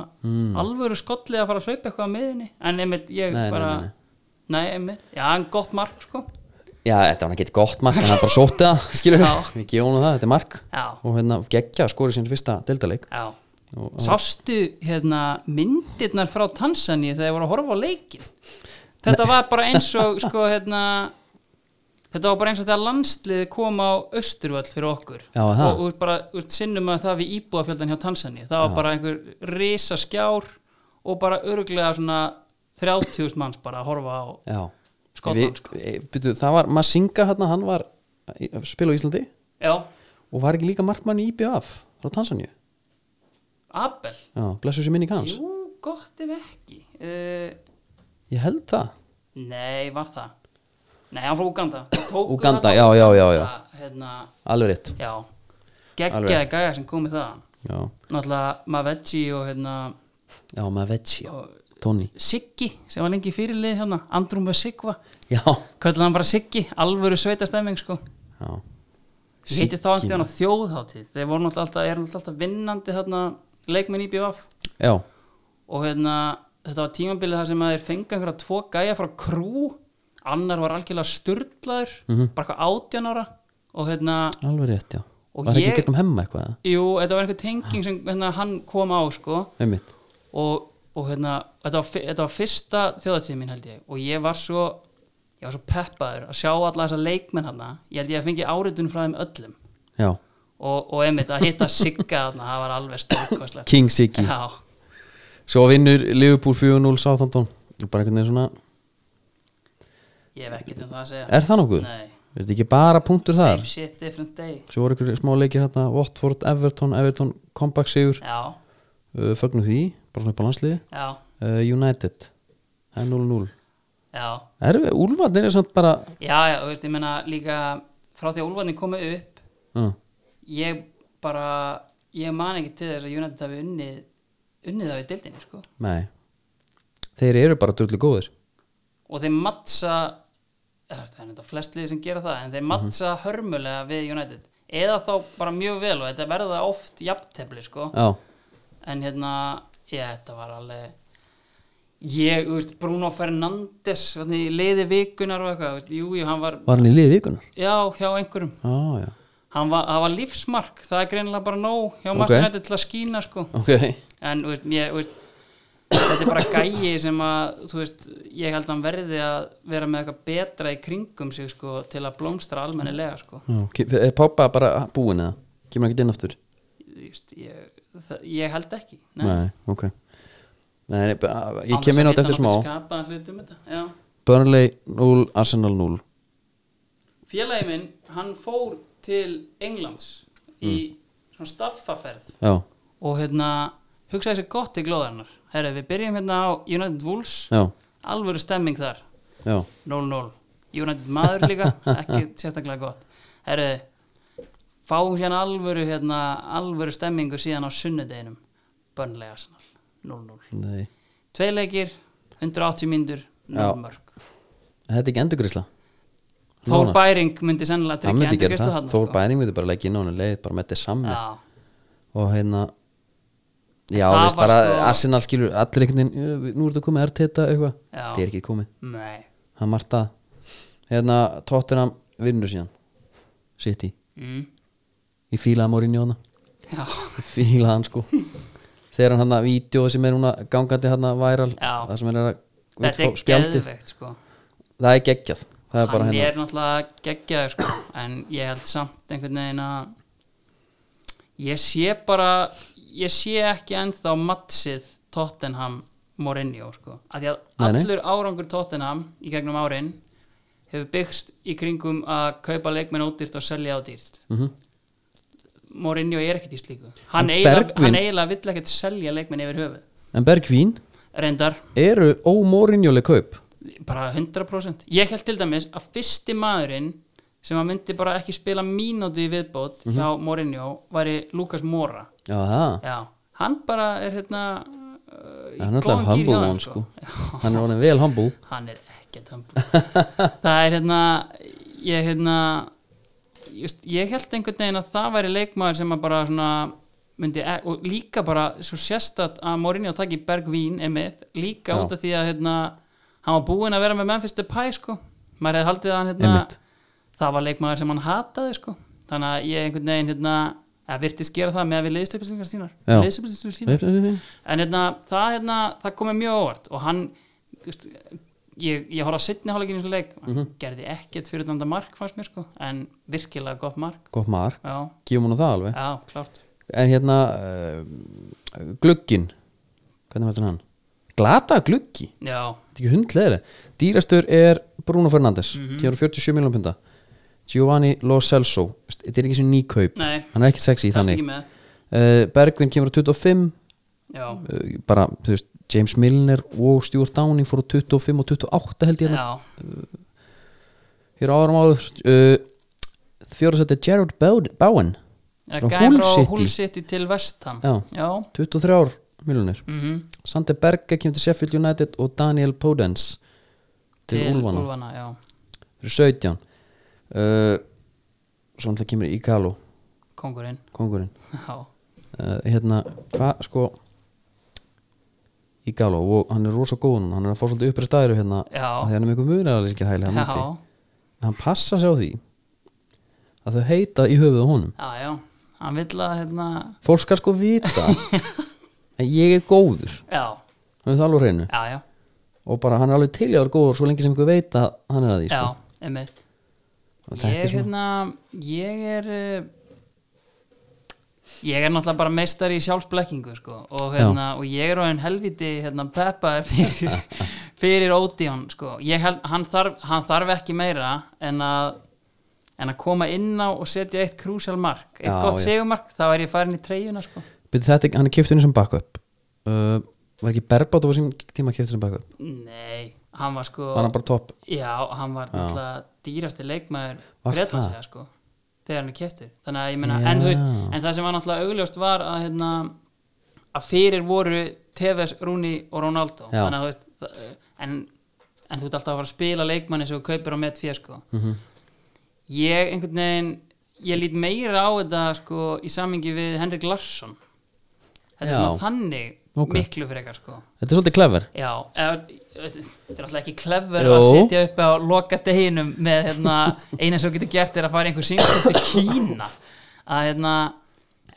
alvöru skolli að fara að sveipa eitthvað á miðinni en einmitt ég
Hmm. Nei, nei,
bara
nei, nei.
nei, einmitt, já, en gott mark sko
Já, þetta var ekki eitt gott mark en hann bara sótti það, skilur
Já.
við ekki jónu það, þetta er mark
Já.
og hérna geggja skorið sín fyrsta deildaleik
já.
Og-
Sástu hérna myndirnar frá Tansaníu þegar ég voru að horfa á leikin þetta var bara eins og sko hérna Þetta var bara eins og þegar landsliði kom á Östurvöll fyrir okkur
Já,
og,
það.
og úr bara úr sinnum að það við íbúafjöldan hjá Tansaníu það var bara einhver risa skjár og bara örglega svona 30.000 manns bara að horfa á
Já,
Skotland, sko.
Býtu, það var Masinga hérna, hann var að spila á Íslandi
Já,
og var ekki líka markmann í IBF frá Tansaníu
Abel
Já, blessu sér minni kanns
Jú, gott ef ekki uh,
Ég held það
Nei, var það Nei, hann frá Uganda Þeir tóku
Úganda,
þarna-
já, já, já, já.
Að, hérna,
Alveg rétt
já
Alveg.
Geggjaði gæja sem komið þaðan
Já,
Náttúrulega Maveji og hérna
já maður veggi
og
Tony
Siggi sem var lengi í fyrirlið hérna Andrum með Sigva
Já,
Kölluð hann bara Siggi, alvöru sveitastemming sko
já
Ég heiti þá alltaf hann á þjóðhátíð Þeir voru náttúrulega alltaf, er náttúrulega alltaf vinnandi þarna leikmenn í BVF
Já,
og hérna, þetta var tímabilið þar sem að þeir fengi einhverja tvo gæja frá krú annar var algjörlega sturdlaður
Mhm.
bara eitthvað átján ára og hérna,
alveg rétt, já
Og
Var ekki
ég-
gegnum hemma eitthvað eða?
jú, þetta var einhver tenging sem hérna, hann kom á sko
einmitt
og, og hérna, þetta var, fi- þetta var fyrsta þjóðatíð mín held ég og ég var svo ég var svo peppaður að sjá alla þessa leikmenn hann ég held ég að fengi áritun frá þeim öllum
Já,
og, og einmitt að hitta Sigga þarna, það var alveg stórkostlegt
King Siggi
Já,
Svo vinnur Liverpool 4-0 Southampton Og bara einhvern veginn svona,
ég hef ekkert um það að segja
er það nokkuð?
Nei,
Er þetta ekki bara punktur
same
þar?
shit, different day
Svo voru einhverju smá leikir hérna Watford, Everton, Everton, comeback sigur
Já,
uh, Fögnum því, bara svona upp á landsliði
já,
uh, United, það er 0-0
já
Er við, Úlfarnir er samt bara
Já, já, þú veist, ég meina líka frá því að Úlfarnir komið upp
uh,
ég bara, ég man ekki til þess að United hafi unnið unnið það í dildinni, sko
Nei Þeir eru bara drullu góðir
og þeir mattsa það er þetta flest liðið sem gera það en þeir mattsa hörmulega við United eða þá bara mjög vel og þetta verða oft jafntefli, sko
Já,
en hérna, ég, þetta var alveg ég, þú veist, Bruno Fernandes hvernig, liði vikunar og eitthvað, þú veist, jú, jú, hann var
var hann í liði vikunar?
já, hjá einhverjum
Já, já,
hann var, það var lífsmark, það er greinilega bara nóg hjá
Ok.
Master United til að skína sko
ok
en þú veist, ég, þú veist, þetta er bara gæi sem að þú veist, ég held að hann verði að vera með eitthvað betra í kringum sig sko til að blómstra almennilega sko
Já, ok. Er Pogba bara búin eða? Kemur hann ekki inn aftur?
Ég veist, ég, það, ég held ekki
Nei, ok Nei, nei, bara- ég
Án
kem
þess
inn á
að
þetta eftir
vita nokkuð
smá
skapaðan hlut um þetta, já.
Burnley 0, Arsenal 0
félagi minn, hann fór til Englands í
Mm.
svona staffaferð
Já,
og hérna hugsaði sér gott í glóðarnar herri, við byrjum hérna á United Wolves
já,
alvöru stemming þar
já
0-0 United maður líka, ekki sérstaklega gott Herru, fáum hérna alvöru hérna, alvöru stemmingu síðan á sunnudeginum Burnley Arsenal, 0-0
Nei,
Tvei leikir, 180 myndur 0
Já.
mörg
þetta er ekki endurgrisla
Þór Bæring myndi sennilega
Það
tryggja
myndi gera
endurgreiðslu
það,
þarna,
Þór
sko.
Bæring myndi bara leggja inn á hann um leið, bara með þetta saman
Já,
og hérna Já,
það
veist
var
bara,
sko-
Arsenal skilur allir einhvern veginn, "Jú, við- nú er þetta komið Arteta eitthvað,
Já.
þetta er ekki komið
nei
hann Marta, hérna Tottenham vinnur síðan City,
mm.
ég fílaði Mourinho hana
Já,
Ég fílaði hann sko þegar hann hann að vídeo sem er núna gangandi hann að væral,
Já.
það sem er að
þetta
útfá
er
spjaldið,
geðveikt sko
það er geggjað það er bara
hann
hérna,
er náttúrulega geggjaður sko, en ég held samt einhvern veginn að ég sé bara ég sé ekki ennþá matsið Tottenham Mourinho sko. að því að
Nei, nei.
allur árangur Tottenham í gegnum árin hefur byggst í kringum að kaupa leikmenn ódýrt og selja ódýrt mm
Mhm.
-hmm. Mourinho er ekkert í slíku
En
hann, eiginlega-
Bergvin-
hann eiginlega vill ekkert selja leikmenn yfir höfuð
En Bergvín
reyndar
eru ómórinjóleg kaup
bara 100% ég held til dæmis að fyrsti maðurinn sem að myndi bara ekki spila mínútu í viðbót
Mhm.
hjá Mourinho væri Lucas Moura
Já, það
Já, hann bara er hérna uh, í
Hann er
góðum
alltaf
gír
humble
hjá þeim,
one sko
Já,
Hann er orðin vel humble
Hann er ekkert humble Það er hérna ég hérna just, ég held einhvern veginn að það væri leikmaður sem að bara svona myndi, e- og líka bara svo sérstætt að Mourinho taki Bergvín einmitt, líka
Já.
út af því að hérna, hann var búinn að vera með Memphis Depay sko, maður hefði haldið að hann hérna,
Einmitt.
það var leikmaður sem hann hataði sko, þannig að ég einhvern veginn hérna, að virtist gera það með að við leiðstöpilsingar sínar
Já.
leiðstöpilsingar sínar en hérna, það, hérna, það komið mjög óvart og hann just, ég, ég horfði á sittni hálfleikin í þessu leik hann
Mhm.
gerði ekkert fyrir þetta mark fannst mér sko en virkilega gott mark
Gott mark,
já,
gefum hún á það alveg
já, klárt
En hérna uh, Glugginn Hvernig fannst þér hann? Glata gluggi
já,
Þetta er ekki hundleðri Dýrastur er Bruno Fernandes
Mhm.
mm 47 miljón punda Giovanni Lo Celso Þetta er ekki sem nýkaup
Nei.
Hann er ekkert sexy í
það er
þannig
ekki með
uh, Bergvin kemur á 25
já,
uh, bara, þú veist, James Milner og Stuart Downing fóru á 25 og 28 held ég hérna
já,
hér á árum áður uh, fjóra sætti er Gerard Bow- Bowen
já
Frá
gæm
Hull City.
frá Hull City til Vestham
Já.
já,
23 miljonir
mm
Sander Berge kemur til Sheffield United og Daniel Podence til, til Ulfana
Úlfana já.
fyrir 17 uh, svo náttúrulega kemur Ígalo
kongurinn
kongurinn
já,
uh, hérna, hvað sko Ígalo og hann er rosa góð núna, hann er að fá svolítið uppreist aðeiru hérna
Já.
af því hann er með eitthvað munararlýsingir hæli hann úti
já,
hann passa sig á því að þau heita í höfuð á honum
já, já hann vill að hérna
fólk skal sko vita að ég er góður
já,
hann er það alveg á hreinu
já, já,
og bara hann er alveg til í að vera góður svo lengi sem einhver veit að hann er að því
já,
sko.
einmitt
Og þetta
ég,
er svona,
hérna, ég er uh, ég er náttúrulega bara meistari í sjálfsblekkingu sko, og, hérna, og ég er á einn helviti hérna, peppaður fyrir, fyrir Odeon sko. Ég held, hann, þarf, hann þarf ekki meira en að en að koma inn á og setja eitt krúsjál mark eitt
Já,
gott
já.
segumark, þá er ég farin í treyjuna sko.
Bíddu, þetta er, hann er kiptinu sem backup uh, var ekki Berbat og var sem tíma kiptinu sem backup
nei, hann var sko
var hann bara topp
já, hann var náttúrulega dýrasti leikmaður
Var
Bretlands
það?
eða sko þegar hann er keftur þannig að ég meina, en, þú veist,
Já.
en það sem var náttúrulega augljóst var að, hérna, að fyrir voru Tevez, Rúni og Ronaldo
Já.
þannig að þú veist það- en, en þú ert alltaf að fara að spila leikmanni sem þú kaupir á með tvið sko
Mhm.
ég einhvern veginn ég lít meira á þetta sko í samingi við Henrik Larsson þetta er
Já.
svona þannig
Ok.
miklu frekar sko
þetta er svolítið clever
Já, eða, þetta er alltaf ekki klefver
Jó.
að setja upp á loka deginum með hérna, eina sem þú getur gert er að fara í einhver síngst til Kína að, hérna,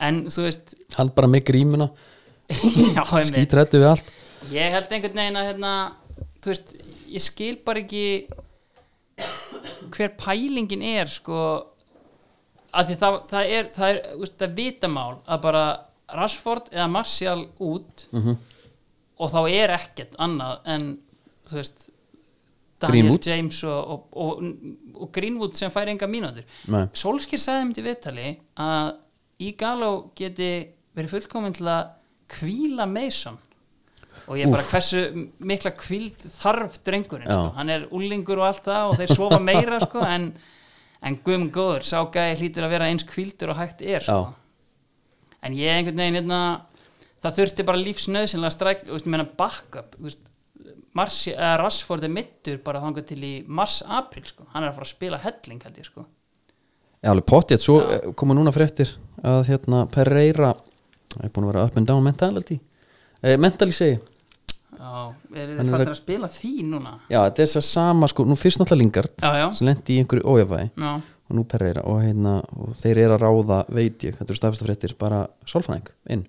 en þú veist
hann bara með grímuna
já, einmitt.
skítrættu við allt
ég held einhvern veginn að hérna, þú veist, ég skil bara ekki hver pælingin er sko að því það, það er, það er þú veist, það er vitamál að bara Rashford eða Martial út
Mhm.
-hmm. og þá er ekkert annað en þú veist Daniel
Greenwood.
James og, og, og, og Greenwood sem fær enga mínútur
Nei.
Solskir sagði mér til viðtali að Ígaló geti verið fullkomin til að kvíla Mason og ég bara hversu mikla kvíld þarf drengurinn,
Já.
sko. hann er úlingur og allt það og þeir sofa meira sko, en, en guðum góður, sá gæði hlýtur að vera eins kvíldur og hægt er sko.
Já.
en ég einhvern veginn hérna, það þurfti bara lífsnöðsynlega stræk, þú veist, ég meina backup þú veist, Marsi, eða Rashford er mittur bara þangað til í mars-april sko. hann er að fara að spila helling held ég sko.
Já, alveg pottið, svo eh, koma núna fréttir að hérna Pereira er búin að vera up and down mentality eh, mentality segi,
Já, er
Hann er
þið fattir
að-
að spila því núna?
já, þetta er þess að sama sko, nú fyrst náttúrulega Lingard
Já, já,
sem lendi í einhverju ójafæði
já,
og nú Pereira og hérna og þeir eru að ráða, veit ég, þetta eru stafista fréttir bara sálfræðing inn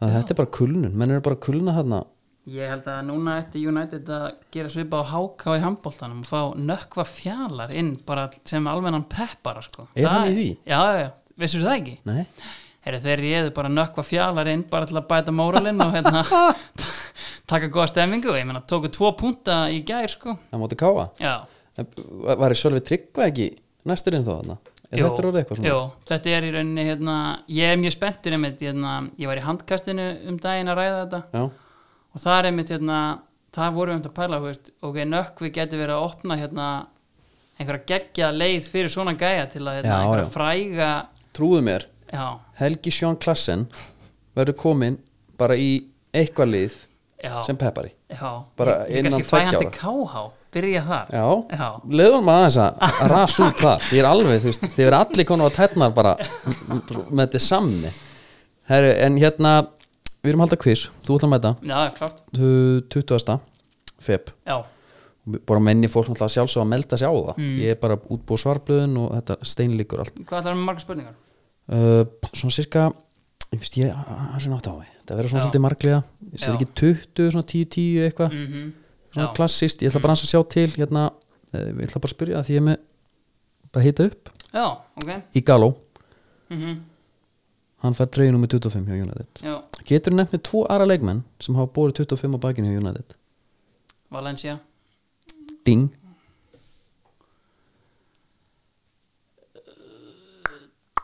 þannig að þetta er bara kulnun, menn eru bara að kulna hérna,
ég held að núna eftir United að gera svipa á háká í handbóltanum og fá nökkva fjalar inn bara sem almennan peppara sko
Er hann í því?
Já, já, já, vissur það ekki?
nei,
Heru, þeir réðu bara nökkva fjalar inn bara til að bæta móralinn og hérna, taka góða stemmingu ég meina, tóku tvo punta í gær sko.
Það móti káa
já,
En Var ég svolítið tryggva ekki næsturinn þó þarna? Er
Jú,
þetta orðið eitthvað svona?
jú, þetta er í rauninni hérna, ég er mjög spenntur einmitt, hérna, ég var í handkastinu um daginn að ræða þetta
Já,
og það er einmitt hérna, það vorum við um þetta að pæla þú veist, ok, nökkvi getur verið að opna hérna, einhverja geggja leið fyrir svona gæja til að hérna,
Já,
einhverja
já.
fræga
trúðu mér
já,
Helgi Sjón Klassen verður komin bara í eitthvað lið
já,
sem peppari
já
bara
Ég- ég
innan
kannski fæ hann
tveggja
til KH, byrja þar
Já,
já,
leiðum maður aðeins að að rasa út þar Ég er alveg, þú veist, þið verður allir konar á tætnar bara með þetta samni Herru, en hérna við erum að halda quiz, þú ætlar að mæta
já, klart
Tu- 20. feb
já,
og bara menni fólk náttúrulega sjálfsög að melda sig á það
Mm.
ég er bara útbúið svarblöðin og þetta steinlíkur allt
hvað ætlar hann með marga spurningar?
uh, svona cirka ég finnst ég hans er nátt á því það verður svona
Já.
svolítið margliða ég sér
Já. Mm.
ekki 20, svona 10-10 eitthvað svona
Já.
klassist, ég ætla bara hans að sjá til hérna, uh, ég ætla bara að spyrja því ég er með bara að hita upp
já, ok
í Galó,
mm
hann fær treyjunum með 25 hjá United
já,
getur nefnt með tvo aðra leikmenn sem hafa borið 25 á bakinu hjá United
Valencia
ding,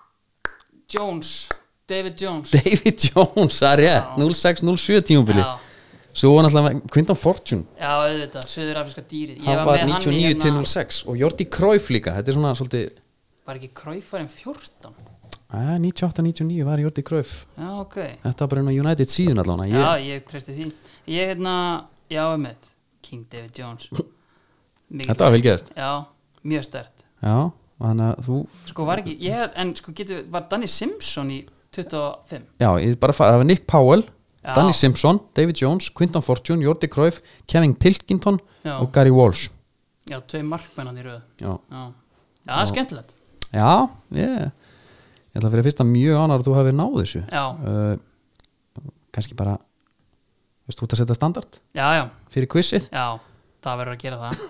Jones, David Jones
David Jones það er rétt,
Já.
06-07 tímubili
Já,
svo var náttúrulega Quinton Fortune
já, auðvitað, söður afriska dýrið Ég
hann var
með hann í
99 til
hérna-
06 og Jordi Cruyff líka þetta er svona svolítið
Var ekki kræfarinn 14?
að 98-99 var Jordi Cruyff
Já, ok
þetta var bara einu United síðun allan
Já,
ég,
ég treysti því Ég hérna, já, um King David Jones Mikið
þetta var vel gert
Já, mjög stert
já, þannig að þú
Sko var ekki, ég, hef- en sko getur, var Danny Simpson í 25?
já, ég bara fara, það var Nick Powell
Já.
Danny Simpson, David Jones, Quinton Fortune Jordi Cruyff, Kevin Pilkington
Já.
og Gary Walsh
Já, tvei markmennan í röð
já,
Já, já það er skemmtilegt
já yeah. ég ætla að fyrir fyrsta mjög ánar að þú hafi náð þessu
Já,
uh, kannski bara veist, þú ert að setja standard
já, já,
fyrir quizið
já Það verður að gera það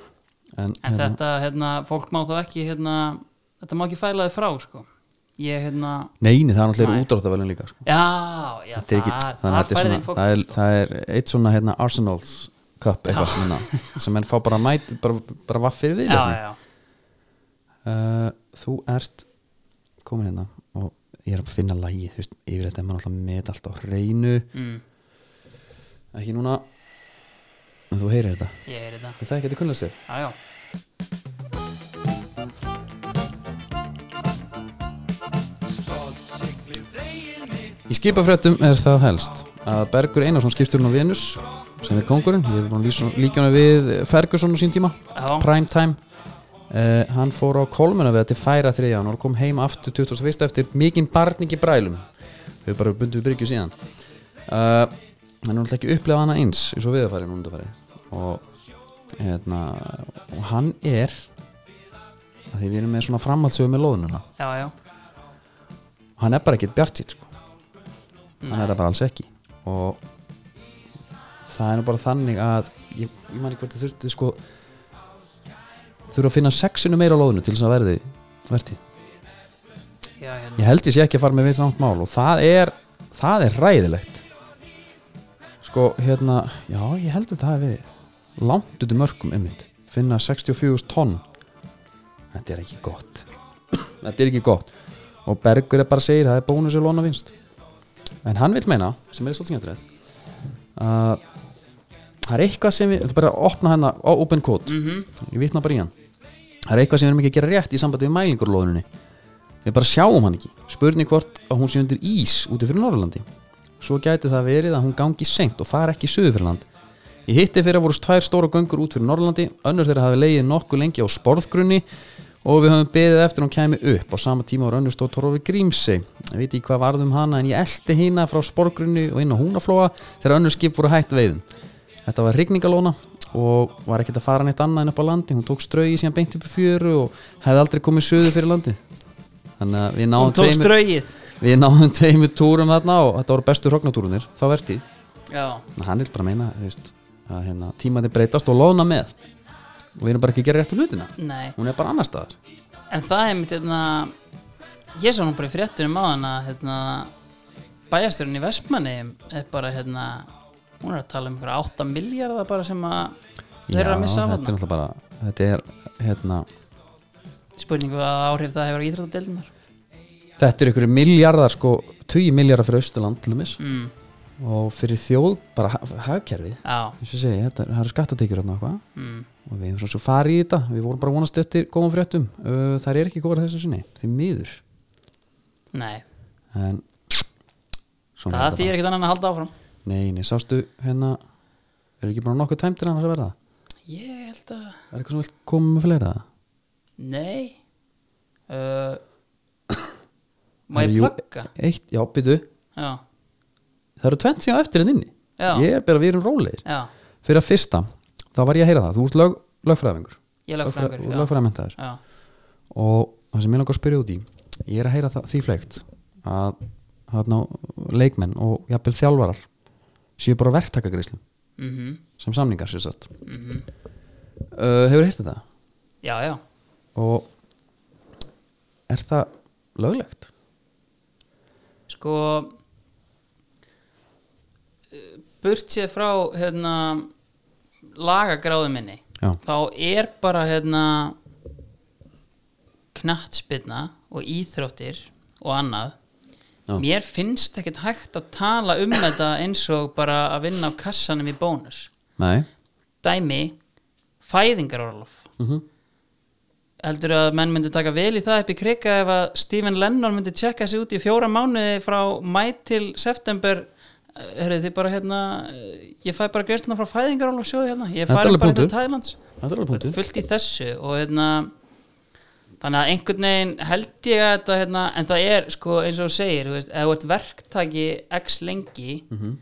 en,
En þetta, hérna, fólk má þá ekki, hérna, þetta má ekki fæla þið frá, sko. Ég, hérna,
neini, það er náttúrulega
Nei.
útráttavelun líka sko.
já, já,
Þetta er ekki,
það,
þannig að þetta
það
er
færið
svona,
inn fólk. sko.
það er, það er eitt svona hérna Arsenal's Cup eitthvað svona, sem menn fá bara mæt, bara, bara vaffir við hérna.
já, já, já,
Uh, þú ert komin hérna og ég er að finna lagi, þú veist, yfir þetta er maður alltaf með þetta alltaf á hreinu,
mm,
ekki núna en þú heyrir þetta,
ég er þetta,
er það ekki þetta kunnlega sér?
já, já.
Í skipafréttum er það helst að Bergur Einarsson skipsturinn á Venus sem er kongurinn, ég er búin að lýsa- líkja hann við Ferguson á sín tíma
Já.
prime time uh, hann fór á kolmuna við að til færa 3. janúar kom heim aftur 21. eftir mikinn barningi brælum við bara bundum við byrgju síðan uh, hann er náttúrulega ekki upplega hana eins eins og viðarfæri núna þetta færi og hérna og hann er að því við erum með svona framhaldsögu með loðununa
já, já,
hann er bara ekkert bjartýtt sko. hann er það bara alls ekki og það er nú bara þannig að ég, ég man ekki hvort þið þurfti sko þurfa að finna sexinu meira á loðinu til þess að verði verði
já, hérna,
ég held ég sé ekki að fara með við samt mál og það er, það er ræðilegt sko hérna já ég held að það er verið langt út í mörgum einmitt finna 64 tonn þetta er ekki gott þetta er ekki gott og Bergur er bara að segja það er bónus og lóna vinst en hann vil meina sem er svolítið skemmtilegt að það er eitthvað sem við, þetta er bara að opna hennar á open code ég vitna bara í hann það er eitthvað sem við erum ekki að gera rétt í sambandi við mælingurlóðunni við bara sjáum hann ekki spurning hvort að hún sé undir ís úti fyrir Norrlandi svo gæti það verið að hún gangi seint og fari ekki í Suðurfjörland í hitti fyrir að voru tvær stóra göngur út fyrir Norrlandi önnur þeirra hafi leiðið nokkuð lengi á sporðgrunni og við höfum beðið eftir að hún kæmi upp á sama tíma var önnur stóð Torfi Grímsey ég veit ekki hvað varð um hana en ég elti hina frá sporðgrunni og inn á húnaflóa þegar önnur skip voru hætt veiðum þetta var rigningalóna og var ekkert að fara neitt annað en upp á landi hún tók strögi síðan beint upp í fjöru og hefði aldrei komið söðu fyrir landi þannig að við náðum
hún tók
tveimur,
strögið,
við náðum tveimur túrum þarna og þetta voru bestu hrognatúrunir þá verðið
já,
Ná, hann vil bara meina þú veist, að hérna, tímandi breytast og loðna með og við erum bara ekki að gera réttu hlutina
nei,
hún er bara annar staðar
en það er mitt, hérna, ég sá nú bara í fréttunum á hana, hérna, bæjastjórun í Vestmanneim er bara hérna hún er að tala um einhverja 8 miljardar bara sem að þeir eru að missa
þetta er
af hann
náttúrulega bara þetta er, hérna,
spurningu að um áhrif það hefur á íþróttadeildunar
þetta er einhverju miljardar sko, tugi miljardar fyrir Östuland til dæmis
mm,
og fyrir þjóð, bara ha- hagkerfið
á,
eins og ég segi, þetta er- það eru skattatekjur hérna eitthvað
mm,
og við hefum svona svo farið í þetta við vorum bara að vonast eftir góðum fréttum uh, það er ekki góðar þessu sinni, því miður
nei
en svona er
það
þetta
þýr ekkert annan að halda áfram
bara. nei, nei, sástu hérna er ekki bara nokkuð tæmtir annars að verða
ég held að
er eitthvað sem vilt koma með fleira
nei uh, má
Herru,
ég
jú,
plugga
eitt, já, byttu,
já,
það eru tvent sem á eftir en inni
Já.
ég er bara, við erum rólegir
já,
fyrir að fyrsta, þá var ég að heyra það þú ert lög, lögfræðingur
ég er lögfræðingur, já.
lögfræðamentaður
já,
og það sem ég langar að spyrja út í ég er að heyra það, því fleikt að þarna, leikmenn og jafnvel þjálfarar séu bara verktakagreislu
mhm
sem samningar sér satt uh, hefur heyrt þetta
já, já
og er það löglegt?
sko eh, burt séð frá hérna lagagráðu minni
Já.
þá er bara hérna knattspilna og íþróttir og annað
Já.
mér finnst ekkert hægt að tala um þetta eins og bara að vinna á kassanum í bónus
Nei
dæmi fæðingarorlof
Mhm.
heldur að menn myndu taka vel í það upp í krika ef að Stephen Lennon myndi tjekka sig út í fjóra mánuði frá mæ til september herrið þið bara hérna eh, ég fæ bara greiðstina frá fæðingarorlof sjóði hérna ég
Þetta er
fæ
alveg
bara
punktur.
til Thailands
Þetta er alveg
Þetta
punktur
er fullt í þessu og hérna þannig að einhvern veginn held ég að þetta hérna, en það er sko eins og þú segir, þú veist, ef þú ert verktaki x lengi
Mhm.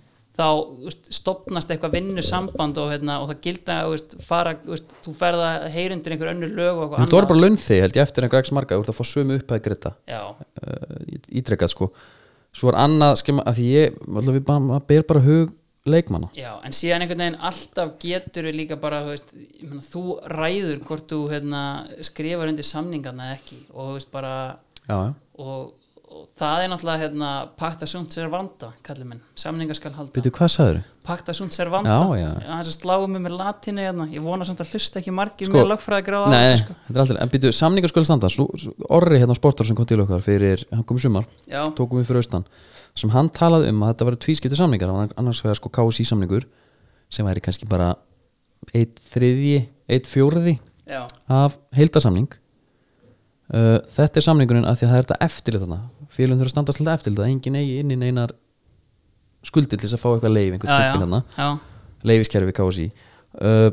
þá þú veist, stopnast eitthvað vinnusamband og, hérna, og það gilda þú veist, fara, þú veist, þú ferða heyrundir einhver önnur lög og eitthvað
Þetta voru bara launþegi held ég eftir einhver ekki marga þú ert að fá sömu upphæði greita
Já,
uh, ítrekkað sko svo er annað skema að því ég alltaf við bara, maður ber bara hug leikmanna
já, en síðan einhvern veginn alltaf getur við líka bara, þú veist, ég meina, þú ræður hvort þú hérna, skrifar undir samningarna eða ekki og þú veist bara
Já, já
og, og það er náttúrulega hérna, pakta sunt servanda, kallið minn samninga skal halda,
Býtu, hvað sagður?
pakta sunt servanda
Já, já.
þess að sláum við með latinu hérna. ég vona samt að hlusta ekki margir
Sko,
með lögfræðagráða
Nei, nei, þetta er aldrei, en býtu, samningar skulle standa svo, svo, Orri hérna á sportar sem kom til okkar fyrir, hann kom í sumar,
Já.
tókum við fyrir austan sem hann talaði um að þetta var tvískipti samningar hann- annars vegar sko KSI samningur sem væri kannski bara eitt þriðji, eitt fjórði
já,
af heildarsamning uh, þetta er samningurinn að því að það er þetta eftirlit þarna félum þurfa að standa alltaf eftirlit að engin eigi inn í neinar skuldir til þess að fá eitthvað leif einhvern
já,
stimpil
já,
þarna
já,
leifiskerfi KSI uh,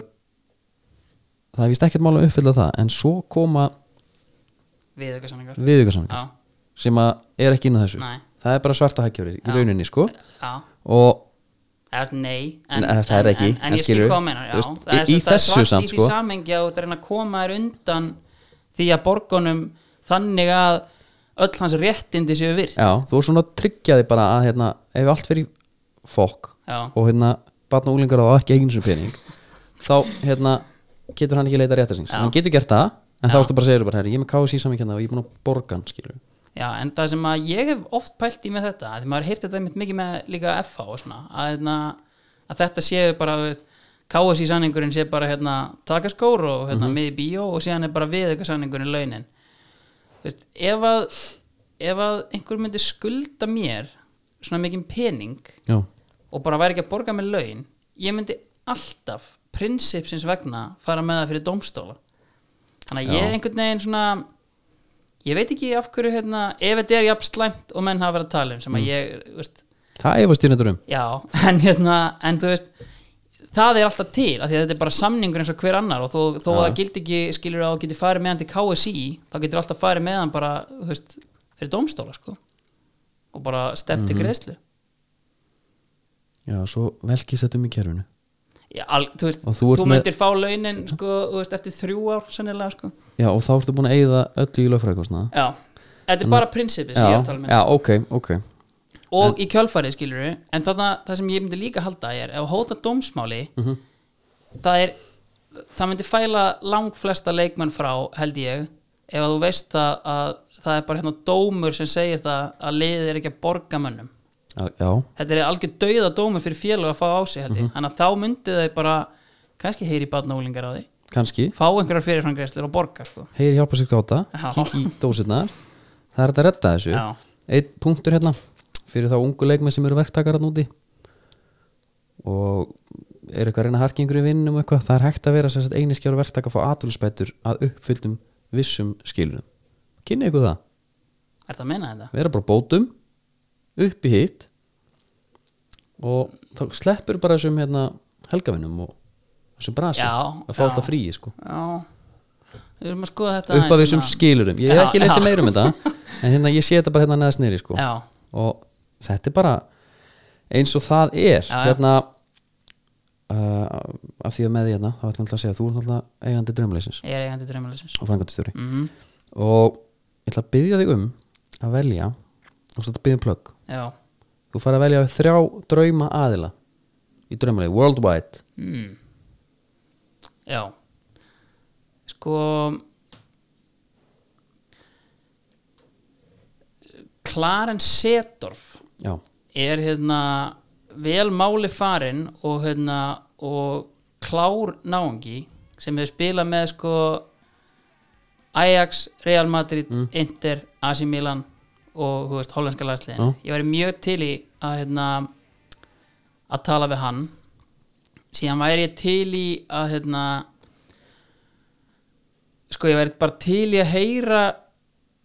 það er vist ekkert mál að uppfylla það en svo koma
við eitthvað samningar
viðugarsamningar
já,
sem að er ekki inn á þessu
Nei.
það er bara svarta hagkjöfri í
Já.
rauninni sko
já
og
Er, nei,
Nei, það er ekki,
en, en
en
ég skil
skilurðu,
hvað meina
þú veist, í- í þessu samt,
í
sko.
því samhengi að þú ert að reyna að koma þér undan því að borgunum þannig að öll hans réttindi séu virt
já, þú er svona að tryggja þig bara að hérna, ef allt fyrir fokk
Já.
og hérna batna úlingar á ekki eigin sem pening þá hérna getur hann ekki leita réttar síns
Já.
hann getur gert það en þá ertu bara að segja þér bara herri, ég er með KSI samning hérna og ég er búin að borga hann skilur
Já, en það sem að ég hef oft pælt í með þetta, af því maður heyrti þetta einmitt mikið með líka FH og svona, að, hérna, að þetta séu bara, þú veist, KSI sanningurinn sé bara hérna, taka skór og hérna, með í bíó og síðan er bara við eitthvað sanningurinn launin. Þú Veist, ef, að, ef að einhver myndi skulda mér svona mikið pening
já,
og bara væri ekki að borga með laun, ég myndi alltaf prinsipsins vegna fara með það fyrir dómstóla. Þannig að
Já.
ég einhvern veginn svona ég veit ekki af hverju hérna ef þetta er jafn slæmt og menn hafa verið að tala um sem að ég, veist,
það efast ég nættur um
já en hérna, en þú veist það er alltaf til, af því að þetta er bara samningur eins og hver annar og þó, þó að það gildi ekki skilur að þú getur farið með hann til KSI þá getur alltaf farið með hann bara, þú veist fyrir dómstóla, sko og bara stemt í greiðslu
já, svo velkist þetta um í kerfinu
já, al, þú veist,
Og þú
þú,
ert með-
myndir fá launin sko, þú veist, eftir þrjú ár sennilega, sko
já, og þá ertu búin að eigða öllu í lögfræðkostnaða
já, þetta er bara prinsipi sem ég er að tala um
já, ok, ok
og í kjölfarið skilur við en þarna, það sem ég myndi líka halda er ef hóta dómsmáli
Mhm.
það er það myndi fæla langflesta leikmenn frá held ég ef að þú veist það að það er bara hérna dómur sem segir það að liðið er ekki að borga mönnum
Já, já,
þetta er algjör dauða dómur fyrir félag að fá á sig
Mhm.
held ég þannig að þá myndi þau bara kannski heyri barnólingar á því
kannski
fá einhverjar fyrirfrangreislir og borga sko.
heyri hjálpa sér gáta,
Já.
kikki í dósirnar það er hægt að redda þessu
Já.
einn punktur hérna fyrir þá ungu leikmenn sem eru verktakar hann úti og er eitthvað að reyna að harka í einhverju vinnum og eitthvað, það er hægt að vera sem sagt einiskjáru verktaka að fá aðtölusbætur að uppfylltum vissum skilunum kynni ykkur það,
Er þetta að meina þetta?
vera bara á bótum upp í hitt og þá sleppur bara þessum hérna helgavinnum og þessum brasi
Já,
að fá
já.
alltaf fríi sko
Já Við erum að skoða þetta
upp af
aðeins hérna.
þessum
svona.
skilurum ég er
Já,
ekki lesið
já.
meira um þetta en hérna ég sé þetta bara hérna neðast niðri sko.
Já,
og þetta er bara eins og það er
Já, já.
hérna uh, af því að með því hérna þá ætlum ég náttúrulega að segja að þú er náttúrulega eigandi drömleysins
ég er eigandi draumalysins
og frangatistjóri
mm
og ég ætla að byggja þig um að velja og svo þetta byggja um plögg
Já
þú fara að velja þrjá drauma aðila í drömleið, worldwide
mm. Já Sko Klaren Setorf
já,
er hérna vel máli farinn og hérna og klár náungi sem hefur spilað með sko Ajax, Real Madrid,
Mm.
Inter, AC Milan og þú veist, hollenska landsliðin
Já.
ég væri mjög til í að hérna að tala við hann síðan væri ég til í að hérna sko ég væri bara til í að heyra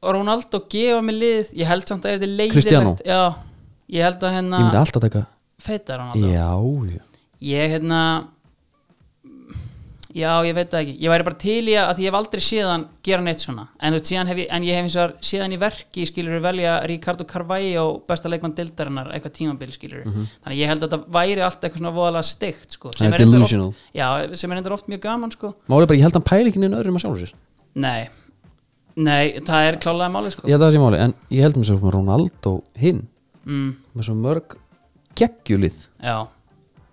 Ronaldo gefa mig lið ég held samt að þetta er
Cristiano?
leiðilegt já, ég held að
ég myndi
hérna
alltaf taka
feita Ronaldo
já, já,
ég hérna já, ég veit það ekki ég væri bara til í að að því ég hef aldrei séðan gera neitt svona en, þú veist, síðan hef ég, en ég hef eins og séðan í verki skilur velja Ricardo Carvalho besta leikmann dildarinnar eitthvað tímabil skilur þannig að ég held að þetta væri allt eitthvað svona voðalega stygt sko,
Það
sem,
Mhm. er
er reyndar
delusional.
oft, já, sem er endur oft mjög gaman sko.
málið er bara, ég held að hann pæli ekki neina öðrum að sjálfur sér
nei, nei, það er klálega máli sko.
ég held að það sé máli, en ég held mér svo með Ronaldo hinn,
mm,
með svo mörg geggjulið
já,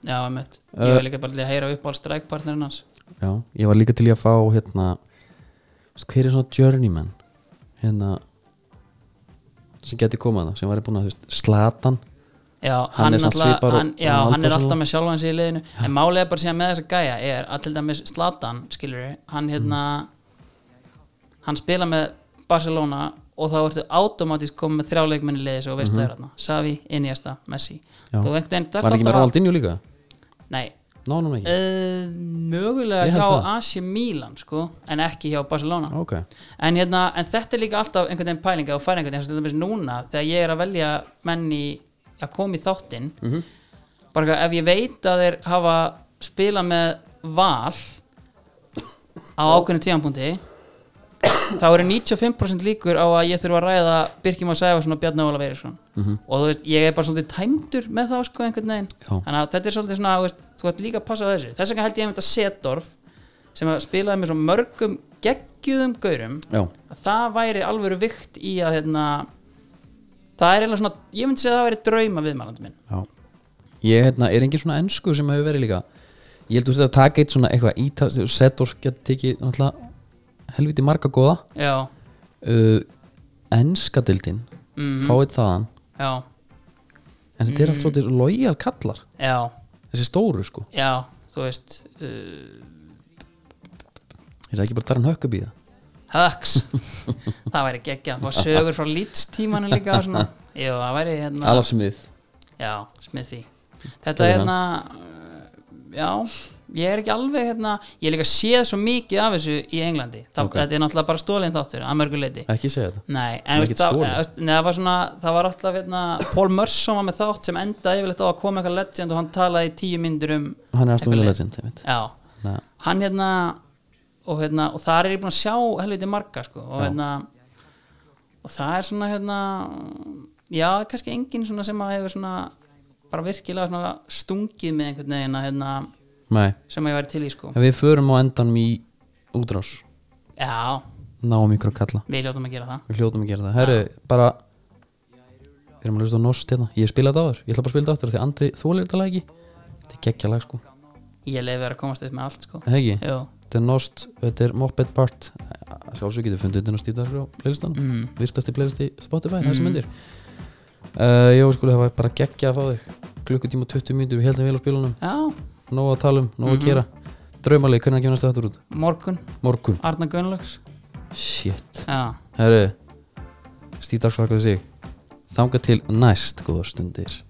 já, einmitt ég
Uh,
hef líka bara til að heyra upp á strækpartnerinn hans
já, ég var líka til í að fá hérna, veist, hver er svona journeyman hérna sem geti komað það, sem væri búin að þú veist, slatan,
Já,
Hann
hann,
er samt
alltaf,
svipaður og-
hann, já,
og Ronaldo
hann er alltaf
svona.
með sjálfan sig í liðinu en málið er bara síðan með þessa gæja er að til dæmis Zlatan, skilur
Mm.
hann hérna hann spila með Barcelona og þá ertu automátisk komið með þrjá leikmenn í liðis og veist það er hérna, Savi, Iniesta, Messi
Mhm. Já.
þú veit einn,
var ekki með Ronaldinho líka
Nei,
ná hann ekki,
uh, mögulega
Ég held
hjá
það.
AC Milan sko, en ekki hjá Barcelona
ok
en, hérna, en þetta er líka alltaf einhvern veginn pælinga og færi einhvern veginn, eins og til dæmis núna þegar ég er að velja menni að koma í þáttinn bara eitthvað, ef ég veit að þeir hafa spila með val á ákveðinu tíðanpunkti þá eru 95% líkur á að ég þurfa að ræða Birkjum og Sæfarsson og Bjarni Óla Veirisson og þú veist, ég er bara svolítið tæmdur með þá sko einhvern veginn
Já.
þannig að þetta er svolítið svona, þú veist, þú ætti líka að passa á þessu þess vegna held ég einmitt að Setorf sem að spilaði með svo mörgum geggjuðum gaurum
já,
að það væri alvöru vikt í að hérna, það er eiginlega svona ég myndi segja að það væri drauma viðmælandi minn
já ég hérna, er engin svona ennsku sem hefur verið líka ég held þú þetta að taka eitt svona eitthvað ítal, Setor geti tekið náttúrulega helviti marga góða
já,
uh, ennskadildin mm. fáið þaðan
já,
en þetta er allt svolítið lojal kallar
já
þessi stóru sko,
Já, þú veist uh,
er það ekki bara um Darren Huckabee það?
Hugs Það væri geggja, það var sögur frá Leeds tímanum líka og svona. Jú, það væri hérna
Alan Smith
Já, smiði
Það
Þetta
er
er hérna uh, Já, ég er ekki alveg hérna Ég er líka séð svo mikið af þessu í Englandi Þa,
Ok.
Þetta er náttúrulega bara stólinn þáttur að mörgu leiti
ekki segja þetta
Nei,
er
en veist,
ekkert
það,
stolið.
veist, nei, það var svona það var alltaf hérna, Paul Merson var með þátt sem endaði yfirleitt á að koma eitthvað legend og hann talaði í tíu myndir um
hann er alltaf vilja
eitthvað
legend einmitt.
Já,
Þannig að-
hann hérna og hérna, og þar er ég búin að sjá helviti marga sko, og hérna og það er svona hérna já, kannski enginn svona sem að hefur svona bara virkilega svona stungið með einhvern veginn að hérna
nei,
sem að ég væri til í sko
en við förum á endanum í útrás
já,
náum ykkur að kalla
við hljóttum að gera það
við hljóðum að gera það, herru, bara við erum að hlusta á Norst hérna ég spila þetta áður, ég ætla bara að spila þetta aftur af því að Andri þólir þetta lag ekki þetta er geggja lag sko,
ég leiði verið að komast upp með allt sko
það ekki
Jú,
þetta er Nost, þetta er Moped Part sjálfsög getur fundið þetta Nost í dagskrá playlistanum, mm. virtasti playlisti Spotify, mm. þessi myndir uh, Jó, sko, það var bara geggja að fá þig Klukkutíma og 20 mínútur, við heldum vel á spilunum
Já,
Nóa að tala um, nóa að gera Draumaleg, hvernig kemur næsta þáttur út?
morgun,
Morgun
Arna Gunnlaugs
Shit
Já,
Herru Stíð dagsfakar sig Þanga til næst, góða stundir